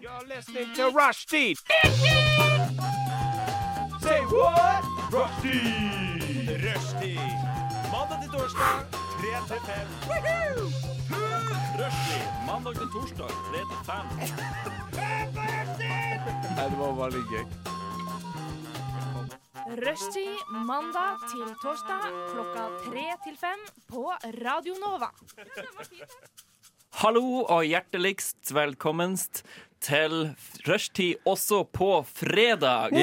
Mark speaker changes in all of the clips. Speaker 1: You're listening to Rushdie. Say what? Rushdie. Rushdie. Mandag til torsdag, 3 til 5. Rushdie. Mandag til torsdag, 3 til 5. Nei, det var veldig gøy.
Speaker 2: Rushtid mandag til torsdag klokka tre til fem på Radio Nova.
Speaker 3: Hallo og hjerteligst velkommenst til rushtid også på fredag.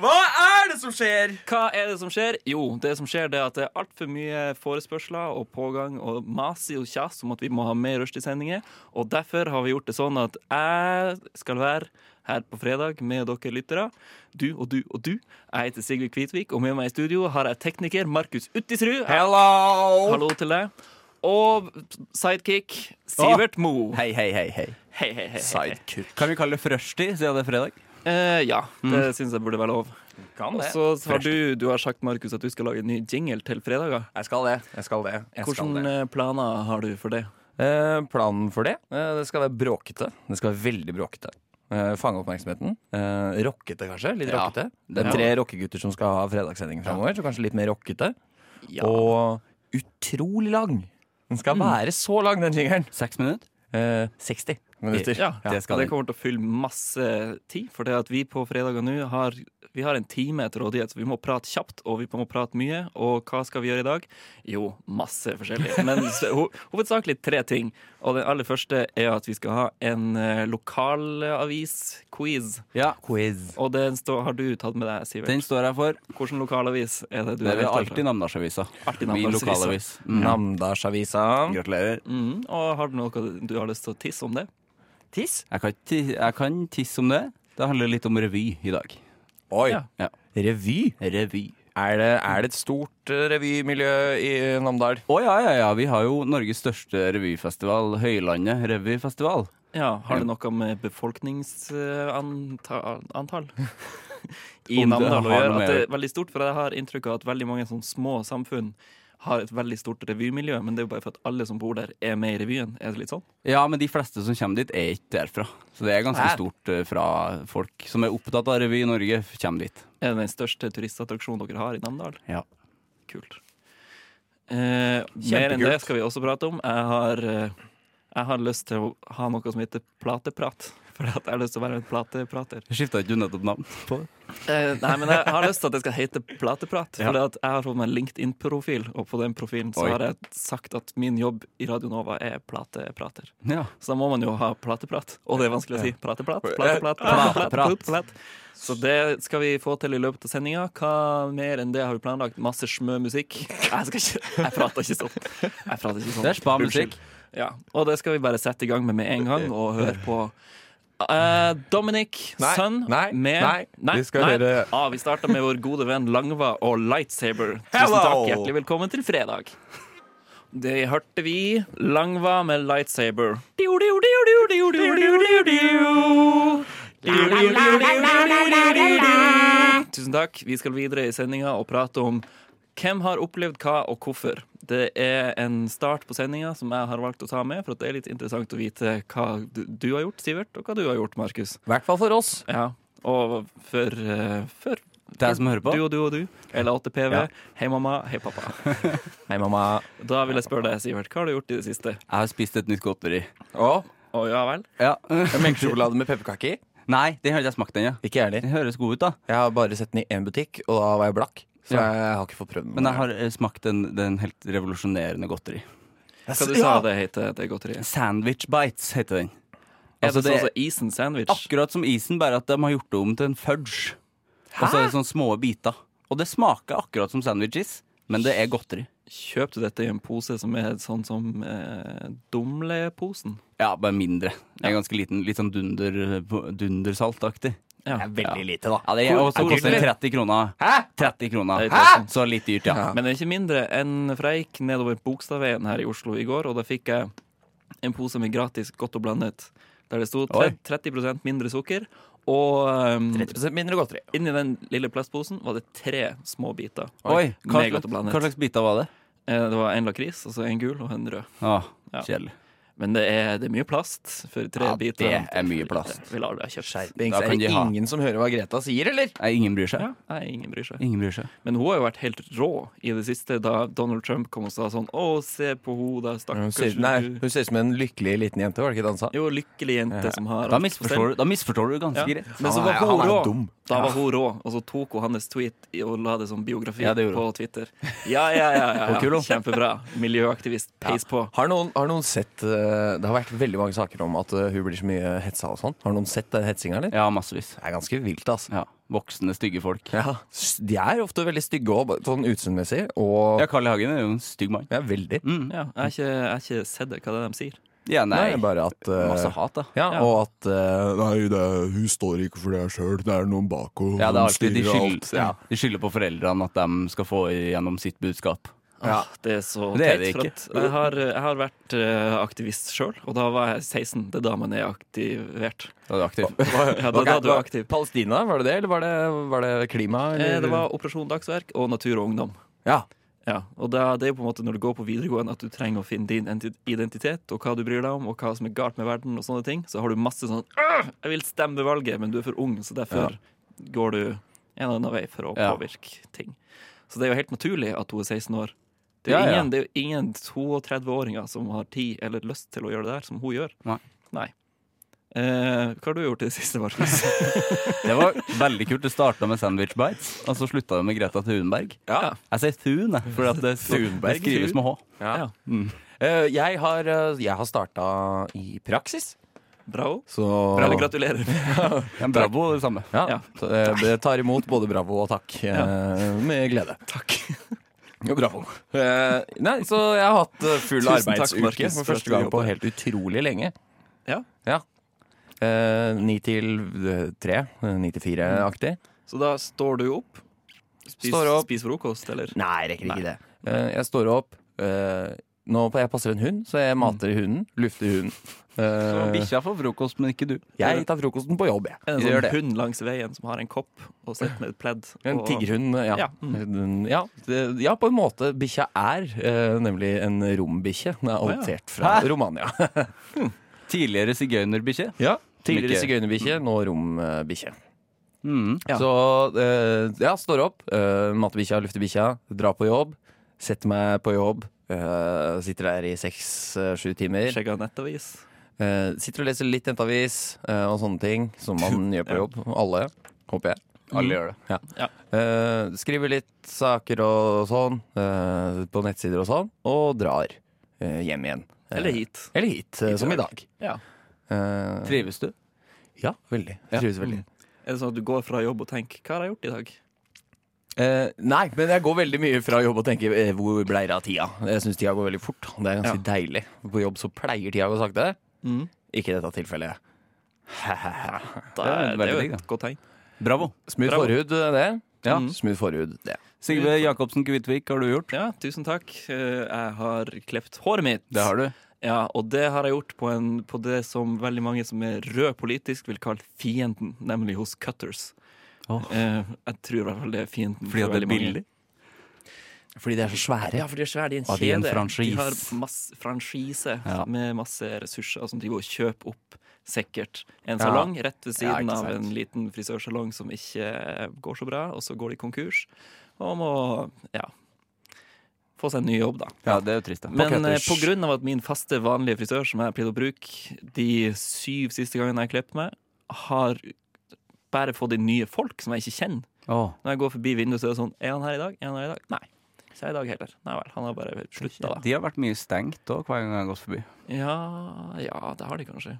Speaker 4: Hva er det som skjer?
Speaker 3: Hva er det som skjer? Jo, det som skjer det er at det er altfor mye forespørsler og pågang og mas og kjas om at vi må ha mer rushtidsendinger. Og derfor har vi gjort det sånn at jeg skal være her på fredag med dere lyttere. Du og du og du. Jeg heter Sigrid Kvitvik, og med meg i studio har jeg tekniker Markus Uttisrud.
Speaker 4: Hello!
Speaker 3: Hallo til deg. Og sidekick Sivert Mo.
Speaker 4: Hei, hei, hei. hei
Speaker 3: Hei, hei, hei.
Speaker 4: Sidekick. Kan vi kalle det frøshti siden det er fredag?
Speaker 3: Eh, ja,
Speaker 4: Mm.
Speaker 3: det syns jeg burde være lov.
Speaker 4: Kan
Speaker 3: Og så har du, du har sagt, Markus, at du skal lage en ny jingle til fredager.
Speaker 4: Jeg skal det. Jeg skal det. Jeg skal
Speaker 3: Hvilke
Speaker 4: det.
Speaker 3: eh, planer har du for det?
Speaker 4: Eh, planen for det? Eh, det skal være bråkete. Det skal være veldig bråkete. Eh, fange oppmerksomheten. Eh, rockete, kanskje. Litt
Speaker 3: Ja.
Speaker 4: rockete. Det er tre rockegutter som skal ha fredagssending framover, så kanskje litt mer rockete.
Speaker 3: Ja.
Speaker 4: Og utrolig lang. Den skal være så lang, den jingeren.
Speaker 5: Seks minutter?
Speaker 4: Eh, 60 minutter.
Speaker 3: ja,
Speaker 4: det
Speaker 3: og
Speaker 4: skal
Speaker 3: det kommer til å fylle masse tid, for det at vi på fredager nå har, vi har en time til rådighet, så vi må prate kjapt, og vi må prate mye. Og hva skal vi gjøre i dag? Jo, masse forskjellig. Men s- ho hovedsakelig tre ting. Og den aller første er at vi skal ha en eh, lokalavis-quiz.
Speaker 5: Ja.
Speaker 4: Quiz.
Speaker 3: Og den står- har du tatt med deg, Sivert.
Speaker 5: Den står jeg for.
Speaker 3: Hvilken lokalavis er det du
Speaker 5: Det er
Speaker 3: ute etter?
Speaker 5: alltid Namdalsavisa.
Speaker 3: Alltid
Speaker 5: Min
Speaker 3: Namdalsavisa.
Speaker 5: lokalavis. Mm.
Speaker 4: Namdalsavisa.
Speaker 5: Gratulerer.
Speaker 3: Mhm, og har du noe du har lyst til å tisse om det?
Speaker 4: Tiss.
Speaker 5: Jeg kan, ti jeg kan tisse om det. Det handler litt om revy i dag.
Speaker 4: Oi.
Speaker 3: Ja.
Speaker 5: Ja.
Speaker 4: Revy.
Speaker 5: Revy.
Speaker 4: Er det, er det et stort eh, revymiljø i eh, Namdal?
Speaker 5: Å ja, ja, ja. Vi har jo Norges største revyfestival, Høylandet revyfestival.
Speaker 3: Ja, Har det noe med befolkningsantall i
Speaker 5: Om det
Speaker 3: Namdal å gjøre?
Speaker 5: har noe
Speaker 3: At det
Speaker 5: med-
Speaker 3: er veldig stort, for jeg har inntrykk av at veldig mange sånn små samfunn har et veldig stort revymiljø, men det er jo bare for at alle som bor der, er med i revyen. Er det litt sånn?
Speaker 5: Ja, men de fleste som kommer dit, er ikke derfra. Så det er ganske
Speaker 4: Hæ?
Speaker 5: stort eh, fra folk som er opptatt av revy i Norge, kommer dit.
Speaker 3: Er det den største turistattraksjonen dere har i Namdal?
Speaker 5: Ja.
Speaker 3: Kult. Eh, mer enn det
Speaker 4: Kjempekult.
Speaker 3: skal vi også prate om. Jeg har, eh, jeg har lyst til å ha noe som heter plateprat. For at jeg har lyst til å være en plateprater.
Speaker 5: Skifta ikke du nettopp navn på det?
Speaker 3: Eh, nei, men jeg har lyst til at det skal hete Plateprat. For at jeg har fått meg LinkedIn-profil, og på den profilen så
Speaker 5: Oi.
Speaker 3: har jeg sagt at min jobb i Radio Nova er plateprater.
Speaker 5: Ja.
Speaker 3: Så da må man jo ha plateprat. Og det er vanskelig å si. Plateprat,
Speaker 4: Eh,
Speaker 3: plateprat, plateprat.
Speaker 5: plateprat.
Speaker 3: plateprat. Så det skal vi få til i løpet av sendinga. Hva mer enn det har vi planlagt? Masse smø musikk. Jeg, skal ikke, jeg prater ikke sånn. Jeg prater ikke sånn.
Speaker 5: Det er spa-musikk.
Speaker 3: Ja, og det skal vi bare sette i gang med med en gang, og høre på eh, Dominic
Speaker 4: Nei,
Speaker 3: Sun
Speaker 4: nei,
Speaker 3: med
Speaker 4: nei, vi skal høre-
Speaker 3: Ah, vi starter med vår gode venn Langva og Lightsaber. Tusen
Speaker 4: Hello!
Speaker 3: takk, hjertelig velkommen til fredag. Det hørte vi. Langva med Lightsaber. Diu, diu, diu, diu, diu, diu, diu, diu, diu. Diu, diu, diu, diu, diu, diu, diu, diu. Tusen takk. Vi skal videre i sendinga og prate om hvem har opplevd hva og hvorfor. Det er en start på sendinga som jeg har valgt å ta med, for at det er litt interessant å vite hva du, du har gjort, Sivert, og hva du har gjort, Markus.
Speaker 4: I hvert fall for oss.
Speaker 3: Ja, og for, eh, for
Speaker 5: Deg som hører på.
Speaker 3: du og du og du, eller 8PV. Hei, mamma. Hei, pappa.
Speaker 4: Hei, mamma.
Speaker 3: Da vil jeg spørre deg, Sivert, hva har du gjort i det siste?
Speaker 5: Jeg har spist et nytt godteri.
Speaker 4: Og
Speaker 3: Å ja vel?
Speaker 5: Ja.
Speaker 4: melkesjokolade med pepperkake i.
Speaker 5: Nei, den har ikke jeg smakt ennå.
Speaker 4: Ikke jeg heller.
Speaker 5: Den høres god ut, da.
Speaker 4: Jeg har bare sett den i én butikk, og da var jeg blakk. Så
Speaker 5: Ja.
Speaker 4: jeg har ikke fått prøvd den.
Speaker 5: Men jeg har eh, smakt den, den helt revolusjonerende godteri.
Speaker 3: Hva du sa det heter det godteriet?
Speaker 5: Sandwich bites heter den.
Speaker 3: Er
Speaker 5: Altså,
Speaker 3: det sånn
Speaker 5: det-
Speaker 3: som isen sandwich?
Speaker 5: Akkurat som isen, bare at de har gjort det om til en fudge. Og så er det sånne små biter. Og det smaker akkurat som sandwiches, men det er godteri.
Speaker 3: Kjøper du dette i en pose som er sånn som eh, Dumleposen?
Speaker 5: Ja, bare mindre. Det er ganske liten, litt sånn dunder, dundersaltaktig.
Speaker 3: Ja.
Speaker 4: veldig lite, da.
Speaker 5: Ja, det er, og så
Speaker 3: Er det
Speaker 5: koster den 30 kroner.
Speaker 4: Hæ?
Speaker 5: 30 kroner.
Speaker 3: Det er sånn- tusen.
Speaker 5: Så litt dyrt, ja.
Speaker 3: Men det er ikke mindre enn For jeg gikk nedover Bogstadveien her i Oslo i går, og da fikk jeg en pose med gratis godt og blandet, der det sto
Speaker 4: Oi.
Speaker 3: 30 mindre sukker, og ehm,
Speaker 4: 30 mindre godteri.
Speaker 3: Inni den lille plastposen var det tre små biter.
Speaker 5: Oi, hva
Speaker 3: Med godt
Speaker 5: slags,
Speaker 3: og blandet.
Speaker 5: hva slags biter var det?
Speaker 3: Eh, Det var en lakris, og så en gul og en rød.
Speaker 5: Å,
Speaker 3: Ja.
Speaker 5: kjedelig.
Speaker 3: Men det er, det er mye plast for tre
Speaker 5: Ja,
Speaker 3: biter.
Speaker 5: det er mye plast.
Speaker 3: Vil aldri ha kjøpt.
Speaker 4: Skjerpings.
Speaker 5: Da
Speaker 4: Er
Speaker 5: kan
Speaker 4: det
Speaker 5: de ha.
Speaker 4: ingen som hører hva Greta sier, eller?
Speaker 5: Nei, ingen bryr seg.
Speaker 3: Ja, nei, ingen bryr seg.
Speaker 5: Ingen bryr seg.
Speaker 3: Men hun har jo vært helt rå i det siste, da Donald Trump kom og sa sånn Å, se på hun der,
Speaker 4: Hun
Speaker 3: stakkars
Speaker 4: ser, nei, hun ser ut som en lykkelig liten jente, var det ikke det han sa?
Speaker 3: Jo, lykkelig jente som har
Speaker 5: Da
Speaker 3: alt på stell.
Speaker 5: misforstår, du- da misforstår du ganske
Speaker 3: Ja.
Speaker 5: greit.
Speaker 3: Men så
Speaker 4: Han
Speaker 3: var
Speaker 4: er-
Speaker 3: hun
Speaker 4: han er
Speaker 3: rå.
Speaker 4: dum.
Speaker 3: Da var hun rå, og så tok hun hans tweet i- og la det som biografi
Speaker 5: Ja, det gjorde
Speaker 3: på Twitter. Ja, ja, ja, ja,
Speaker 5: Hun er kul,
Speaker 3: ja.
Speaker 5: hun.
Speaker 3: Kjempebra. Miljøaktivist. Peis på.
Speaker 4: Har noen, har noen sett eh, Det har vært veldig mange saker om at eh, hun blir så mye hetsa og sånn. Har noen sett den hetsinga, eller?
Speaker 5: Ja, massevis.
Speaker 4: Det er ganske vilt, altså.
Speaker 5: Ja. Voksne, stygge folk.
Speaker 4: Ja. S- De er ofte veldig stygge òg, sånn utseendemessig, og
Speaker 5: Ja, Carl I. Hagen er jo en stygg mann.
Speaker 4: ja, veldig.
Speaker 5: Mm.
Speaker 3: Ja, jeg har ikke, jeg har ikke sett det, hva det er de sier.
Speaker 5: Ja,
Speaker 4: Nei,
Speaker 5: nei.
Speaker 4: bare at eh,
Speaker 5: Masse hat, da.
Speaker 4: ja,
Speaker 3: Ja.
Speaker 4: og at eh,
Speaker 6: Nei, det, er- hun står ikke for det sjøl. Det er noen bak henne
Speaker 5: Ja, det er
Speaker 6: som
Speaker 5: alltid, de,
Speaker 6: styrer alt.
Speaker 5: skylder, ja. de skylder på foreldrene at de skal få gjennom sitt budskap.
Speaker 3: Åh, det er så teit.
Speaker 5: Det er det
Speaker 3: For at
Speaker 5: ikke.
Speaker 3: jeg, har, jeg har vært eh, aktivist sjøl, og da var jeg 16. Det er da man er aktivert.
Speaker 5: Da er du aktiv.
Speaker 3: Ja, det er da du er aktiv.
Speaker 4: Palestina, var det det, eller var det, var det klima? Eller?
Speaker 3: Eh, Det var Operasjon Dagsverk og Natur og Ungdom.
Speaker 4: ja.
Speaker 3: Ja, og det er, det er jo på en måte når du går på videregående at du trenger å finne din enti- identitet og hva du bryr deg om, og hva som er galt med verden og sånne ting. Så har du masse sånn «Åh, Jeg vil stemme ved valget, men du er for ung, så derfor går du en eller annen vei for å
Speaker 5: Ja.
Speaker 3: påvirke ting. Så det er jo helt naturlig at hun er 16 år. Det er
Speaker 5: Ja,
Speaker 3: jo
Speaker 5: ja.
Speaker 3: ingen, det er jo ingen 32-åringer som har tid eller lyst til å gjøre det der, som hun gjør.
Speaker 5: Nei.
Speaker 3: Eh, hva har du gjort i det siste, Markus?
Speaker 5: Det var veldig kult. Det starta med Sandwich Bites, og så slutta det med Greta Thunberg.
Speaker 3: Ja.
Speaker 5: Jeg sier Thun, jeg, for at det, det
Speaker 4: Thunberg,
Speaker 5: skrives med H.
Speaker 3: Ja.
Speaker 4: Eh, jeg har, eh, jeg har starta i praksis,
Speaker 3: Bravo.
Speaker 4: så
Speaker 3: Eller gratulerer.
Speaker 5: Ja, Bravo, det samme.
Speaker 4: Ja,
Speaker 3: Ja.
Speaker 4: så, eh, det tar imot både bravo og takk eh, med glede. Takk. Jo, bravo. Eh, nei, så jeg har hatt eh, full
Speaker 3: Tusen takk,
Speaker 4: arbeidsuke
Speaker 3: Markus, for at
Speaker 4: for
Speaker 3: du
Speaker 4: første gang på
Speaker 3: jobber.
Speaker 4: helt utrolig lenge.
Speaker 3: Ja.
Speaker 4: ja. Eh, ni til eh, tre, eh, ni til fire-aktig.
Speaker 3: Så da står du opp. Spis,
Speaker 4: Står opp.
Speaker 3: spis frokost, eller?
Speaker 4: Nei, rekker ikke det. Eh, jeg står opp. eh, nå jeg passer en hund, så jeg mater hunden, lufter hunden.
Speaker 5: Så
Speaker 4: Eh,
Speaker 5: Bikkja får frokost, men ikke du.
Speaker 4: jeg tar frokosten på jobb, jeg.
Speaker 3: En
Speaker 4: Gjør
Speaker 3: sånn
Speaker 4: det.
Speaker 3: hund langs veien som har en kopp og sitter med et pledd.
Speaker 4: En
Speaker 3: og-
Speaker 4: tiggerhund, eh, ja.
Speaker 3: Ja. Mm.
Speaker 4: Ja. Ja, det- ja, på en måte. Bikkja er eh, nemlig en rombikkje. Den er adoptert fra
Speaker 5: Hæ?
Speaker 4: Romania.
Speaker 5: Tidligere sigøynerbikkje.
Speaker 4: Ja, Tidligere
Speaker 5: Ikke-
Speaker 4: sigøynerbikkje, nå rombikkje.
Speaker 5: Mm.
Speaker 3: Ja.
Speaker 4: Så eh, ja, står opp, eh, mater bikkja, lufter bikkja, drar på jobb. Setter meg på jobb. eh, sitter der i seks-sju timer.
Speaker 3: Sjekka nettavis.
Speaker 4: Eh, sitter og leser litt nettavis eh, og sånne ting, som man gjør på jobb. Alle, håper jeg.
Speaker 5: Alle gjør det.
Speaker 4: Ja.
Speaker 3: Ja.
Speaker 4: Eh, skriver litt saker og sånn eh, på nettsider og sånn, og drar eh, hjem igjen. Eh,
Speaker 3: Eller hit.
Speaker 4: Eller hit, eh, som i dag.
Speaker 3: Ja.
Speaker 4: Eh,
Speaker 5: Trives du?
Speaker 4: ja, veldig. Jeg Trives veldig.
Speaker 3: Er det sånn at du går fra jobb og tenker 'hva har jeg gjort i dag'?
Speaker 4: Eh, nei, men jeg går veldig mye fra jobb og tenker eh, hvor ble det av tida? Jeg syns tida går veldig fort. og Det er ganske deilig. På jobb så pleier tida å gå sakte.
Speaker 3: Mhm.
Speaker 4: Ikke i dette tilfellet.
Speaker 3: Da er-
Speaker 5: veldig
Speaker 3: Det er
Speaker 5: digg,
Speaker 3: jo et godt tegn.
Speaker 5: Bravo.
Speaker 4: Smooth
Speaker 3: Bravo.
Speaker 4: forhud, det.
Speaker 5: Ja.
Speaker 4: Mm. Smooth forhud, det.
Speaker 5: Sigve Jacobsen Kvitvik, har du gjort?
Speaker 3: Ja, tusen takk. Eh, Jeg har klept håret mitt.
Speaker 5: Det har du.
Speaker 3: Ja, Og det har jeg gjort på, en, på det som veldig mange som er rød politisk, vil kalle fienden, nemlig hos cutters.
Speaker 5: Åh.
Speaker 3: Eh, Jeg tror i hvert fall det er fienden.
Speaker 5: Fordi
Speaker 3: for
Speaker 5: at det
Speaker 3: veldig
Speaker 5: er
Speaker 3: mange.
Speaker 5: billig?
Speaker 4: Fordi de er så svære.
Speaker 3: Ja, for de er svære. De er en
Speaker 5: Ja, de er en
Speaker 3: kjede.
Speaker 5: franchise.
Speaker 3: De har masse franchise
Speaker 5: Ja.
Speaker 3: med masse ressurser som de går og kjøper opp sikkert en
Speaker 4: Ja.
Speaker 3: salong rett ved
Speaker 4: Ja,
Speaker 3: siden
Speaker 4: ikke
Speaker 3: av
Speaker 4: sant.
Speaker 3: en liten frisørsalong som ikke eh, går så bra, og så går de konkurs og må ja, få seg en ny jobb, da.
Speaker 5: Ja, det er jo trist, da.
Speaker 3: Men eh,
Speaker 4: Pocketers.
Speaker 3: på grunn av at min faste, vanlige frisør, som jeg pleide å bruke de syv siste gangene jeg har klippet meg, har bare fått inn nye folk som jeg ikke kjenner.
Speaker 5: Åh.
Speaker 3: Når jeg går forbi vinduet, så er det sånn Er han her i dag? Er han her i dag? Nei. Så er jeg i dag heller. Nei vel. Han har bare slutta, da.
Speaker 5: De har vært mye stengt òg, hver gang jeg har gått forbi.
Speaker 3: Ja, ja, det har de kanskje.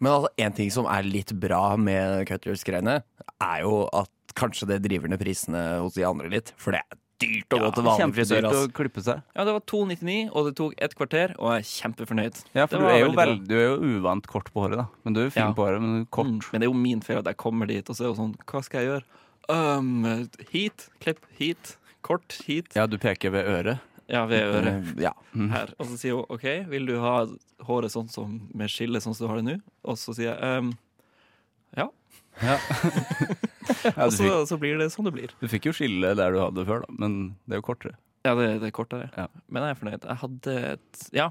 Speaker 4: Men altså, en ting som er litt bra med Cutters-greiene, er jo at kanskje det driver ned prisene hos de andre litt. For det er dyrt å gå til vanlig frisør. ass.
Speaker 5: å klippe seg.
Speaker 3: Ja, det var 2,99, og det tok et kvarter, og jeg er kjempefornøyd.
Speaker 5: Ja,
Speaker 3: Det
Speaker 5: for du
Speaker 3: var
Speaker 5: er, jo
Speaker 3: veldig bra.
Speaker 5: vel, du er jo uvant kort på håret, da. Men du er jo fin
Speaker 3: Ja.
Speaker 5: på håret, men kort.
Speaker 3: Mm, Men det er jo min feil at jeg kommer dit, og så er det jo sånn Hva skal jeg gjøre? Øhm, hit. Klipp hit. Kort hit.
Speaker 5: Ja, Mm. du peker ved øret.
Speaker 3: Ja, ved øret.
Speaker 4: Eh, Ja.
Speaker 3: Her. Og så sier hun OK, vil du ha håret sånn som med skille, sånn som du har det nå? Og så sier jeg um, øhm, ja.
Speaker 5: Ja,
Speaker 3: Og
Speaker 5: du,
Speaker 3: så,
Speaker 5: fikk,
Speaker 3: så blir det sånn det blir.
Speaker 5: du fikk jo skille der du hadde før, da, men det er jo kortere.
Speaker 3: Ja, det, det er kortere.
Speaker 5: Ja.
Speaker 3: Men jeg er fornøyd. Jeg hadde et Ja.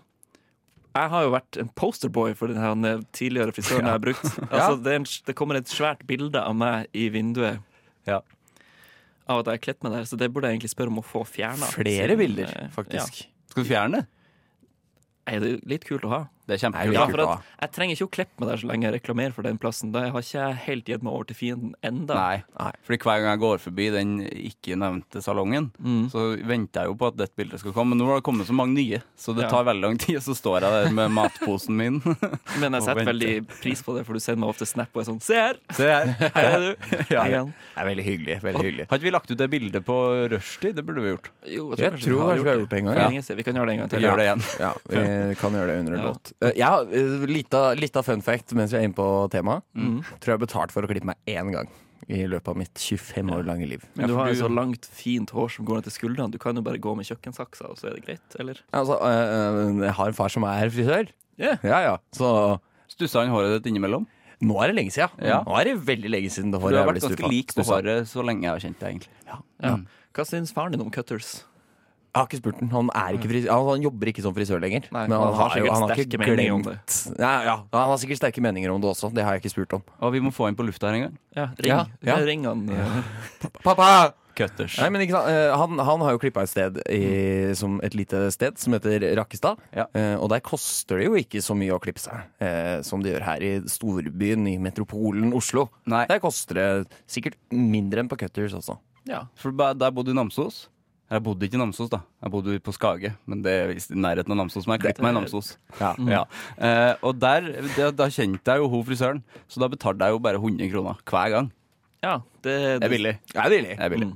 Speaker 3: Jeg har jo vært en posterboy for den her eh, tidligere frisøren jeg har brukt. Altså, det, er en, det kommer et svært bilde av meg i vinduet
Speaker 5: Ja.
Speaker 3: av at jeg har kledd meg der, så det burde jeg egentlig spørre om å få fjerna.
Speaker 4: Flere bilder, faktisk.
Speaker 5: Skal du fjerne det?
Speaker 3: Er det er litt kult å ha?
Speaker 5: Det er
Speaker 4: Nei,
Speaker 5: kjempekult.
Speaker 3: Ja,
Speaker 4: kult
Speaker 3: for
Speaker 4: å
Speaker 3: at jeg trenger ikke å klippe meg der så lenge jeg reklamerer for den plassen. Da har ikke jeg helt gitt meg over til fienden enda.
Speaker 5: Nei.
Speaker 4: Nei.
Speaker 5: Fordi hver gang jeg går forbi den ikke nevnte salongen, så venter jeg jo på at dette bildet skal komme. Men nå har det kommet så mange nye, så det
Speaker 3: Ja.
Speaker 5: tar veldig lang tid. Og så står jeg der med matposen min.
Speaker 3: Men jeg
Speaker 5: Å,
Speaker 3: setter
Speaker 5: vent.
Speaker 3: veldig pris på det, for du sender meg ofte snap og er sånn Se her!
Speaker 5: Se her.
Speaker 3: Her er du! Igjen.
Speaker 4: Det er veldig hyggelig. veldig hyggelig
Speaker 5: Har ikke vi lagt ut det bildet på rushtid? Det burde vi gjort.
Speaker 3: Jo,
Speaker 4: Jeg
Speaker 3: kanskje
Speaker 4: tror kanskje vi har
Speaker 3: det.
Speaker 4: gjort det en
Speaker 3: For
Speaker 4: gang.
Speaker 3: lenge siden. Vi kan gjøre det en gang
Speaker 5: Vi
Speaker 3: til.
Speaker 5: gjør det igjen.
Speaker 4: Ja, vi kan gjøre det under en
Speaker 3: Ja.
Speaker 4: låt. Eh, Jeg har eh, litt av- litt av fun fact mens vi er inne på temaet. Tror jeg har betalt for å klippe meg én gang i løpet av mitt 25 år lange liv.
Speaker 3: Men du
Speaker 5: Ja, for
Speaker 3: har jo sånn
Speaker 5: du-
Speaker 3: så langt, fint hår som går ned til skuldrene. Du kan jo bare gå med kjøkkensaksa, og så er det greit, eller?
Speaker 4: Altså, eh, eh, jeg har en far som er frisør.
Speaker 3: Ja.
Speaker 4: Ja, ja. Så
Speaker 5: Stussa han håret ditt innimellom?
Speaker 4: nå er det lenge siden.
Speaker 5: Ja.
Speaker 4: Nå er det veldig lenge siden det
Speaker 5: For du
Speaker 4: håret
Speaker 5: har
Speaker 4: jeg
Speaker 5: vært
Speaker 4: ble
Speaker 5: ganske
Speaker 4: stuffa.
Speaker 5: lik på
Speaker 4: Stussa.
Speaker 5: håret så lenge jeg har kjent deg, egentlig.
Speaker 3: Ja. Mm. Hva syns faren din om cutters?
Speaker 4: Jeg har ikke spurt den. Han, er ikke frisør, han, han jobber ikke som frisør lenger.
Speaker 3: Nei,
Speaker 4: men han,
Speaker 3: han har
Speaker 4: har, jo,
Speaker 3: sikkert
Speaker 4: han har
Speaker 3: sterke
Speaker 4: ikke
Speaker 3: meninger om
Speaker 4: glemt ja, ja, Han har sikkert sterke meninger om det også. Det har jeg ikke spurt om.
Speaker 5: Og vi må få inn på lufta her en gang.
Speaker 3: Ja, ring,
Speaker 4: Ja, ja.
Speaker 3: ring han. eh,
Speaker 4: Pappa!
Speaker 5: Cutters.
Speaker 4: Nei, men ikke sant? eh, Han, han har jo klippa et sted i, som et lite sted som heter Rakkestad.
Speaker 5: Ja.
Speaker 4: Eh, og der koster det jo ikke så mye å klippe seg eh, som det gjør her i storbyen, i metropolen Oslo.
Speaker 5: Nei.
Speaker 4: Der koster det sikkert mindre enn på Cutters også.
Speaker 3: Ja.
Speaker 5: For ba- da jeg bodde i Namsos Jeg bodde ikke i Namsos, da. Jeg bodde på Skage, men det er visst i nærheten av Namsos. Men jeg klippet meg i Namsos.
Speaker 4: Ja.
Speaker 5: Ja. Eh, og der, da, da kjente jeg jo hun frisøren, så da betalte jeg jo bare 100 kroner hver gang.
Speaker 3: ja det,
Speaker 5: Det er billig.
Speaker 4: Det er billig.
Speaker 5: Det er billig.
Speaker 3: Mm.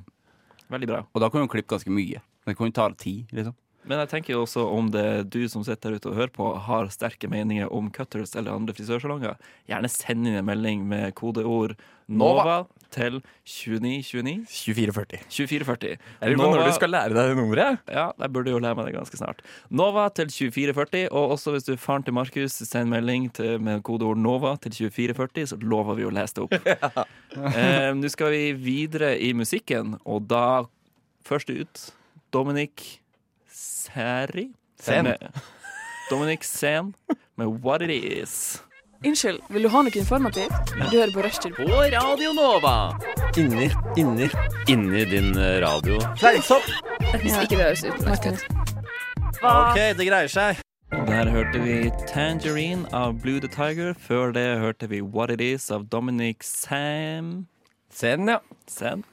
Speaker 3: Veldig bra.
Speaker 5: Og da kunne hun klippe ganske mye. Det kunne ta ti, liksom.
Speaker 3: Men jeg tenker jo også om det er du som sitter der ute og hører på, har sterke meninger om cutters eller andre frisørsalonger, gjerne send inn en melding med kodeord NOVA,
Speaker 4: Nova.
Speaker 3: til 2929
Speaker 4: 24,40.
Speaker 3: 2440.
Speaker 4: Eller når du skal lære deg det nummeret.
Speaker 3: Ja, jeg burde jo lære meg det ganske snart. Nova til 2440, og også hvis du er faren til Markus, send melding til, med kodeord NOVA til 2440, så lover vi å lese det opp. Eh, Nå skal vi videre i musikken, og da først ut Dominic Seri.
Speaker 4: Sen.
Speaker 3: Med- Dominic Sen med What It Is.
Speaker 7: Unnskyld, vil du ha noe informativt? Du hører på Rushtid.
Speaker 8: Inni, inni, inni din eh, radio.
Speaker 7: Hvis ikke det høres utenlandsk ut.
Speaker 8: OK, det greier seg.
Speaker 3: Og Der hørte vi Tangerine av Blue the Tiger. Før det hørte vi What It Is av Dominic Sam.
Speaker 4: Sen, ja.
Speaker 3: Sen.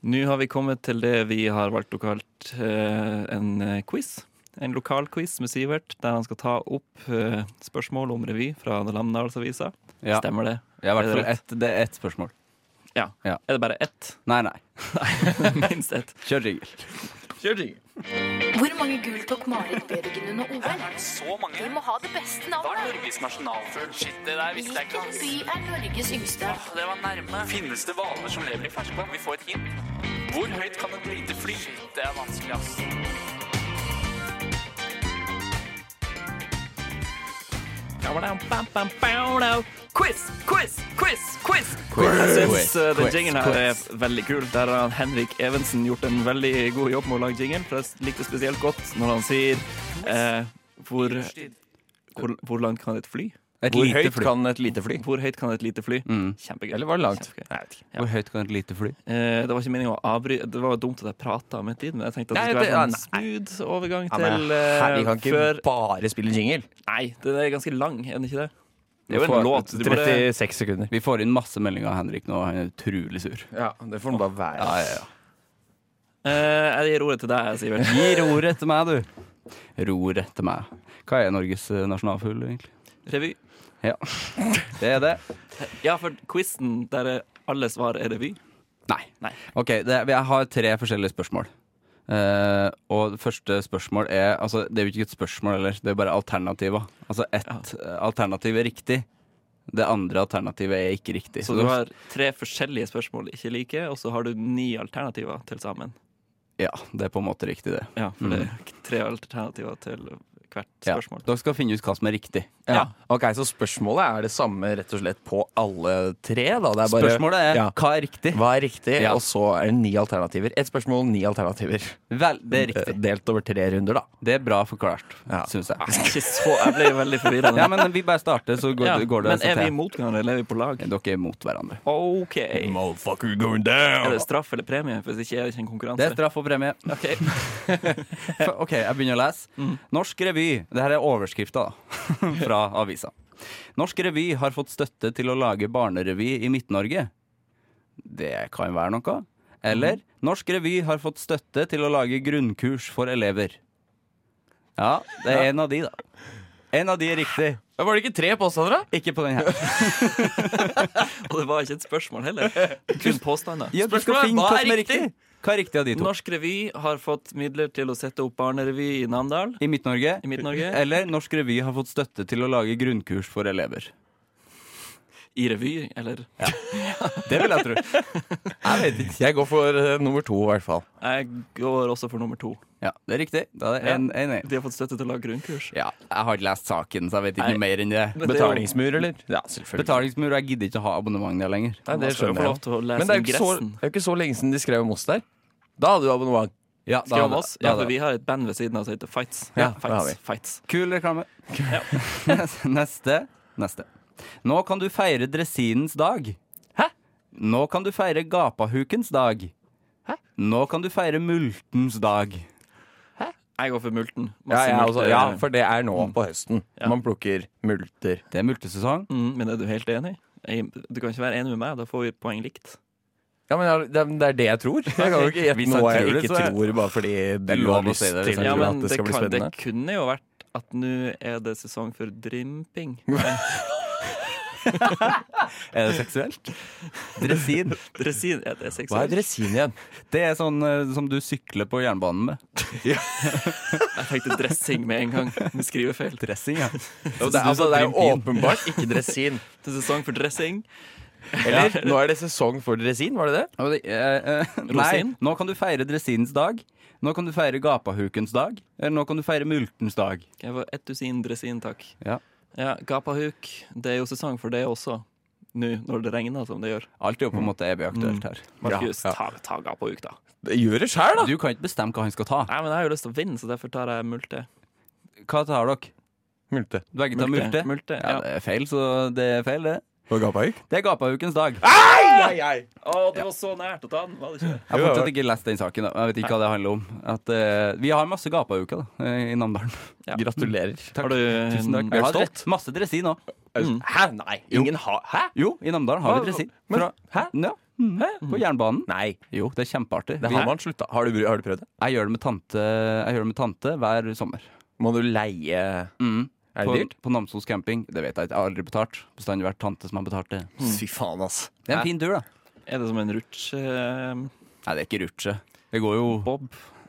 Speaker 3: Nå har vi kommet til det vi har valgt lokalt eh, en eh, quiz. En lokal quiz med Sivert, der han skal ta opp eh, spørsmål om revy fra Namdalsavisa.
Speaker 5: Ja.
Speaker 3: Stemmer det?
Speaker 5: Ja, i
Speaker 3: Er
Speaker 5: hvert
Speaker 3: det
Speaker 5: fall
Speaker 3: rett?
Speaker 5: ett, det er ett spørsmål.
Speaker 3: Ja.
Speaker 5: Ja.
Speaker 3: Er det bare ett?
Speaker 5: Nei, nei.
Speaker 3: Minst ett.
Speaker 5: Kjør jingle.
Speaker 9: Hvor mange gull tok Marit Bjørgen under OL? Vi må ha det beste navnet.
Speaker 10: Norges nasjonalfugl? Shit, det der visste jeg
Speaker 9: Hvilken by er Norges yngste?
Speaker 10: Det var nærme. Finnes det hvaler som lever i ferskvann? Vi får et hint. Hvor høyt kan et lite fly? Shit, det er vanskelig, ass.
Speaker 3: Quiz, quiz, quiz, quiz! Jeg syns uh, den jingen her er veldig kul. Der har Henrik Evensen gjort en veldig god jobb med å lage jingen. For jeg likte spesielt godt når han sier eh, hvor, hvor, hvor langt kan et fly?
Speaker 5: Et
Speaker 4: Hvor
Speaker 5: lite
Speaker 4: høyt
Speaker 5: fly. Mm.
Speaker 4: kan et lite fly?
Speaker 3: Hvor høyt kan et lite fly? Kjempegøy. Eller var det langt? Ja.
Speaker 5: Hvor høyt kan et lite fly?
Speaker 3: Eh, det var ikke meningen å avbryte Det var jo dumt at jeg prata om et tid, men jeg tenkte at det
Speaker 4: Nei,
Speaker 3: skulle
Speaker 4: det-
Speaker 3: være en
Speaker 4: ja,
Speaker 3: smooth overgang
Speaker 4: Ja, men
Speaker 3: til eh,
Speaker 4: her, vi kan ikke
Speaker 3: før
Speaker 4: bare spille jingle.
Speaker 3: Nei, den er ganske lang, er den ikke det? Det er jo
Speaker 4: Få-
Speaker 3: en låt. Du burde-
Speaker 4: 36 sekunder.
Speaker 5: Vi får inn masse meldinger av Henrik nå, han er utrolig sur.
Speaker 4: Ja, Det får nå bare være.
Speaker 3: Eh, jeg gir ordet til deg, Sivert.
Speaker 5: Gi roret til meg, du. Roret til meg. Hva er Norges eh, nasjonalfugl, egentlig?
Speaker 3: Revy.
Speaker 5: Ja, det er det.
Speaker 3: Ja, for quizen der alle svar er revy.
Speaker 5: Nei.
Speaker 3: Nei.
Speaker 5: Ok, det, jeg har tre forskjellige spørsmål. Eh, og det første spørsmål er Altså, det er jo ikke et spørsmål heller, det er bare alternativer. Altså, ett eh, alternativ er riktig. Det andre alternativet er ikke riktig.
Speaker 3: Så du har tre forskjellige spørsmål ikke like, og så har du ni alternativer til sammen.
Speaker 5: Ja, det er på en måte riktig, det.
Speaker 3: Ja, for det er tre alternativer til hvert
Speaker 5: Ja.
Speaker 3: spørsmål.
Speaker 5: Dere skal finne ut hva som er riktig.
Speaker 4: Ja. Ok, Så spørsmålet er det samme rett og slett på alle tre? da det er bare,
Speaker 5: Spørsmålet er
Speaker 4: ja.
Speaker 5: hva er riktig?
Speaker 4: Hva er riktig?
Speaker 5: Ja.
Speaker 4: Og så er det ni alternativer. Ett spørsmål, ni alternativer.
Speaker 5: Vel, det er riktig.
Speaker 4: Eh, Delt over tre runder, da.
Speaker 5: Det er bra forklart,
Speaker 4: Ja.
Speaker 5: syns jeg.
Speaker 3: Ikke så, jeg ble veldig forvirra.
Speaker 5: Ja, men vi bare starter, så går,
Speaker 3: Ja,
Speaker 5: går det
Speaker 3: men er
Speaker 5: seg
Speaker 3: vi
Speaker 5: til.
Speaker 3: imot hverandre, eller er vi på lag?
Speaker 5: Dere er mot hverandre.
Speaker 3: OK.
Speaker 4: Motherfucker going down!
Speaker 3: Er det straff eller premie? Hvis ikke er det ikke en konkurranse.
Speaker 5: Det er straff og premie.
Speaker 3: Ok. Mm.
Speaker 5: OK, jeg begynner å lese. Norsk revy Det her er overskrifta da, fra avisa. Norsk revy har fått støtte til å lage barnerevy i Midt-Norge. Det kan være noe.
Speaker 3: Mm.
Speaker 5: Eller Norsk revy har fått støtte til å lage grunnkurs for elever. Ja, det er en av de, da. En av de er riktig.
Speaker 4: Var det ikke tre påstander, da?
Speaker 5: Ikke på den her.
Speaker 3: Og det var ikke et spørsmål heller. Kun påstander.
Speaker 5: Ja, du skal
Speaker 3: Spørsmålet er,
Speaker 5: finne
Speaker 3: hva
Speaker 5: hva
Speaker 3: er
Speaker 5: som er riktig. Hva er riktig av de to?
Speaker 3: Norsk revy har fått midler til å sette opp barnerevy i Namdal.
Speaker 5: I Midt-Norge.
Speaker 3: I Midt-Norge.
Speaker 5: Eller Norsk revy har fått støtte til å lage grunnkurs for elever.
Speaker 3: I revy, eller?
Speaker 5: Det vil jeg tro. Jeg vet ikke.
Speaker 4: Jeg går for eh, nummer to, i hvert fall.
Speaker 3: Jeg går også for nummer to.
Speaker 5: Ja, det er riktig. Da er det en, en, en.
Speaker 3: De har fått støtte til å lage grunnkurs.
Speaker 5: Ja, jeg har ikke lest saken, så jeg vet ikke
Speaker 3: Nei.
Speaker 5: noe mer enn det.
Speaker 3: Men det er jo-
Speaker 4: Betalingsmur, eller? Ja, selvfølgelig.
Speaker 5: Betalingsmur, og jeg gidder ikke å ha abonnement der lenger.
Speaker 4: Nei,
Speaker 3: Man skal jo få lov til å lese
Speaker 4: Men det er jo ikke så,
Speaker 3: ingressen.
Speaker 4: det er jo ikke så lenge siden de skrev om oss der. Da hadde du abonnement.
Speaker 5: Ja, da
Speaker 3: Skrev
Speaker 5: har
Speaker 3: om
Speaker 5: vi-
Speaker 3: oss?
Speaker 5: da
Speaker 3: Ja, for
Speaker 5: har vi-
Speaker 3: vi har et band ved siden av som heter Fights.
Speaker 4: Ja, det har vi.
Speaker 3: Fights. Fights.
Speaker 5: Kul reklame. Neste. Neste. Nå kan du feire dresinens dag. Hæ? Nå kan du feire gapahukens dag. Hæ? Nå kan du feire multens dag.
Speaker 3: Jeg går for Multen.
Speaker 4: Ja,
Speaker 3: Masse
Speaker 4: ja, altså,
Speaker 3: multer.
Speaker 4: ja, for det er nå på høsten. Man plukker multer.
Speaker 5: Det er multesesong.
Speaker 3: mm, men er du helt enig? Jeg, du kan ikke være enig med meg, da får vi poeng likt.
Speaker 4: Ja, men jeg- det er- det er det jeg tror. Jeg kan jo ikke
Speaker 5: Hvis
Speaker 4: gjette
Speaker 5: jeg
Speaker 4: noe jeg
Speaker 5: tror det,
Speaker 4: ikke
Speaker 5: så er-
Speaker 4: tror, bare fordi
Speaker 5: er
Speaker 4: du
Speaker 5: lov
Speaker 4: har
Speaker 5: å
Speaker 4: lyst
Speaker 5: si det,
Speaker 4: til
Speaker 5: liksom.
Speaker 3: Ja,
Speaker 4: at
Speaker 3: men
Speaker 4: det
Speaker 3: det,
Speaker 4: skal bli
Speaker 3: kan, det
Speaker 4: spennende.
Speaker 3: kunne jo vært at nå er det sesong for drimping.
Speaker 4: Eh,
Speaker 5: Er det seksuelt? Dresin.
Speaker 3: Dresin er det
Speaker 4: Hva er
Speaker 3: seksuelt.
Speaker 4: dresin igjen?
Speaker 5: Det er sånn eh, som du sykler på jernbanen med.
Speaker 3: Jeg tenkte dressing med en gang. Vi skriver feil.
Speaker 5: Dressing, ja.
Speaker 4: Jo, det, er- altså, det er jo åpenbart ikke dresin.
Speaker 3: Det er sesong for dressing.
Speaker 4: Eller? Nå er det sesong for dresin, var det det?
Speaker 5: Ja, men det- eh, eh, Nei,
Speaker 3: Rosin?
Speaker 5: nå kan du feire dresinens dag. Nå kan du feire gapahukens dag. Eller nå kan du feire multens dag.
Speaker 3: Jeg var ett dusin dresin, takk.
Speaker 5: Ja.
Speaker 3: Ja, Gapahuk. Det er jo sesong for det også. Nå når det regner som det gjør.
Speaker 5: Alt er jo på en måte evig aktuelt her.
Speaker 3: Markus, ta, ta gapahuk, da.
Speaker 4: Det gjør det sjæl, da!
Speaker 5: Du kan ikke bestemme hva han skal ta.
Speaker 3: Nei, men Jeg har jo lyst til å vinne, så derfor tar jeg multe.
Speaker 5: Hva tar dere?
Speaker 4: Multe.
Speaker 5: Begge tar multe?
Speaker 3: Multe,
Speaker 5: Ja,
Speaker 3: ja.
Speaker 5: det er feil, så det er feil, det.
Speaker 4: Og gapauk?
Speaker 5: Det er gapahukens dag. Jeg
Speaker 3: Å, det var så nært å ta den, var det ikke?
Speaker 5: har fortsatt ikke lest den saken. da. Jeg vet ikke hva det handler om. At, eh, vi har masse gapahuker da, eh, i Namdalen.
Speaker 4: Gratulerer.
Speaker 3: Har du
Speaker 5: Tusen takk.
Speaker 3: Er
Speaker 5: Jeg
Speaker 3: du
Speaker 5: har
Speaker 3: stolt?
Speaker 5: dre- Masse dresin òg.
Speaker 4: Hæ? Nei. Ingen har Hæ?
Speaker 5: Jo, i Namdalen har vi dresin.
Speaker 4: Men-
Speaker 5: Fra,
Speaker 4: hæ?
Speaker 5: Ja. Hæ? På jernbanen.
Speaker 4: Nei.
Speaker 5: Jo, det er
Speaker 4: Det
Speaker 5: kjempeartig. Vi-
Speaker 4: har man slutta. Har du, har du prøvd det?
Speaker 5: Jeg gjør det med tante, jeg gjør det med tante hver sommer.
Speaker 4: Må du leie Er det
Speaker 5: På,
Speaker 4: dyrt?
Speaker 5: på Namsos camping. Det vet jeg ikke. Jeg har aldri betalt. Bestandig vært tante som har betalt det.
Speaker 4: Fy faen, ass.
Speaker 5: Det er en fin tur, da.
Speaker 3: Er det som en rutsjebob?
Speaker 5: Nei, det er ikke rutsje. Det går jo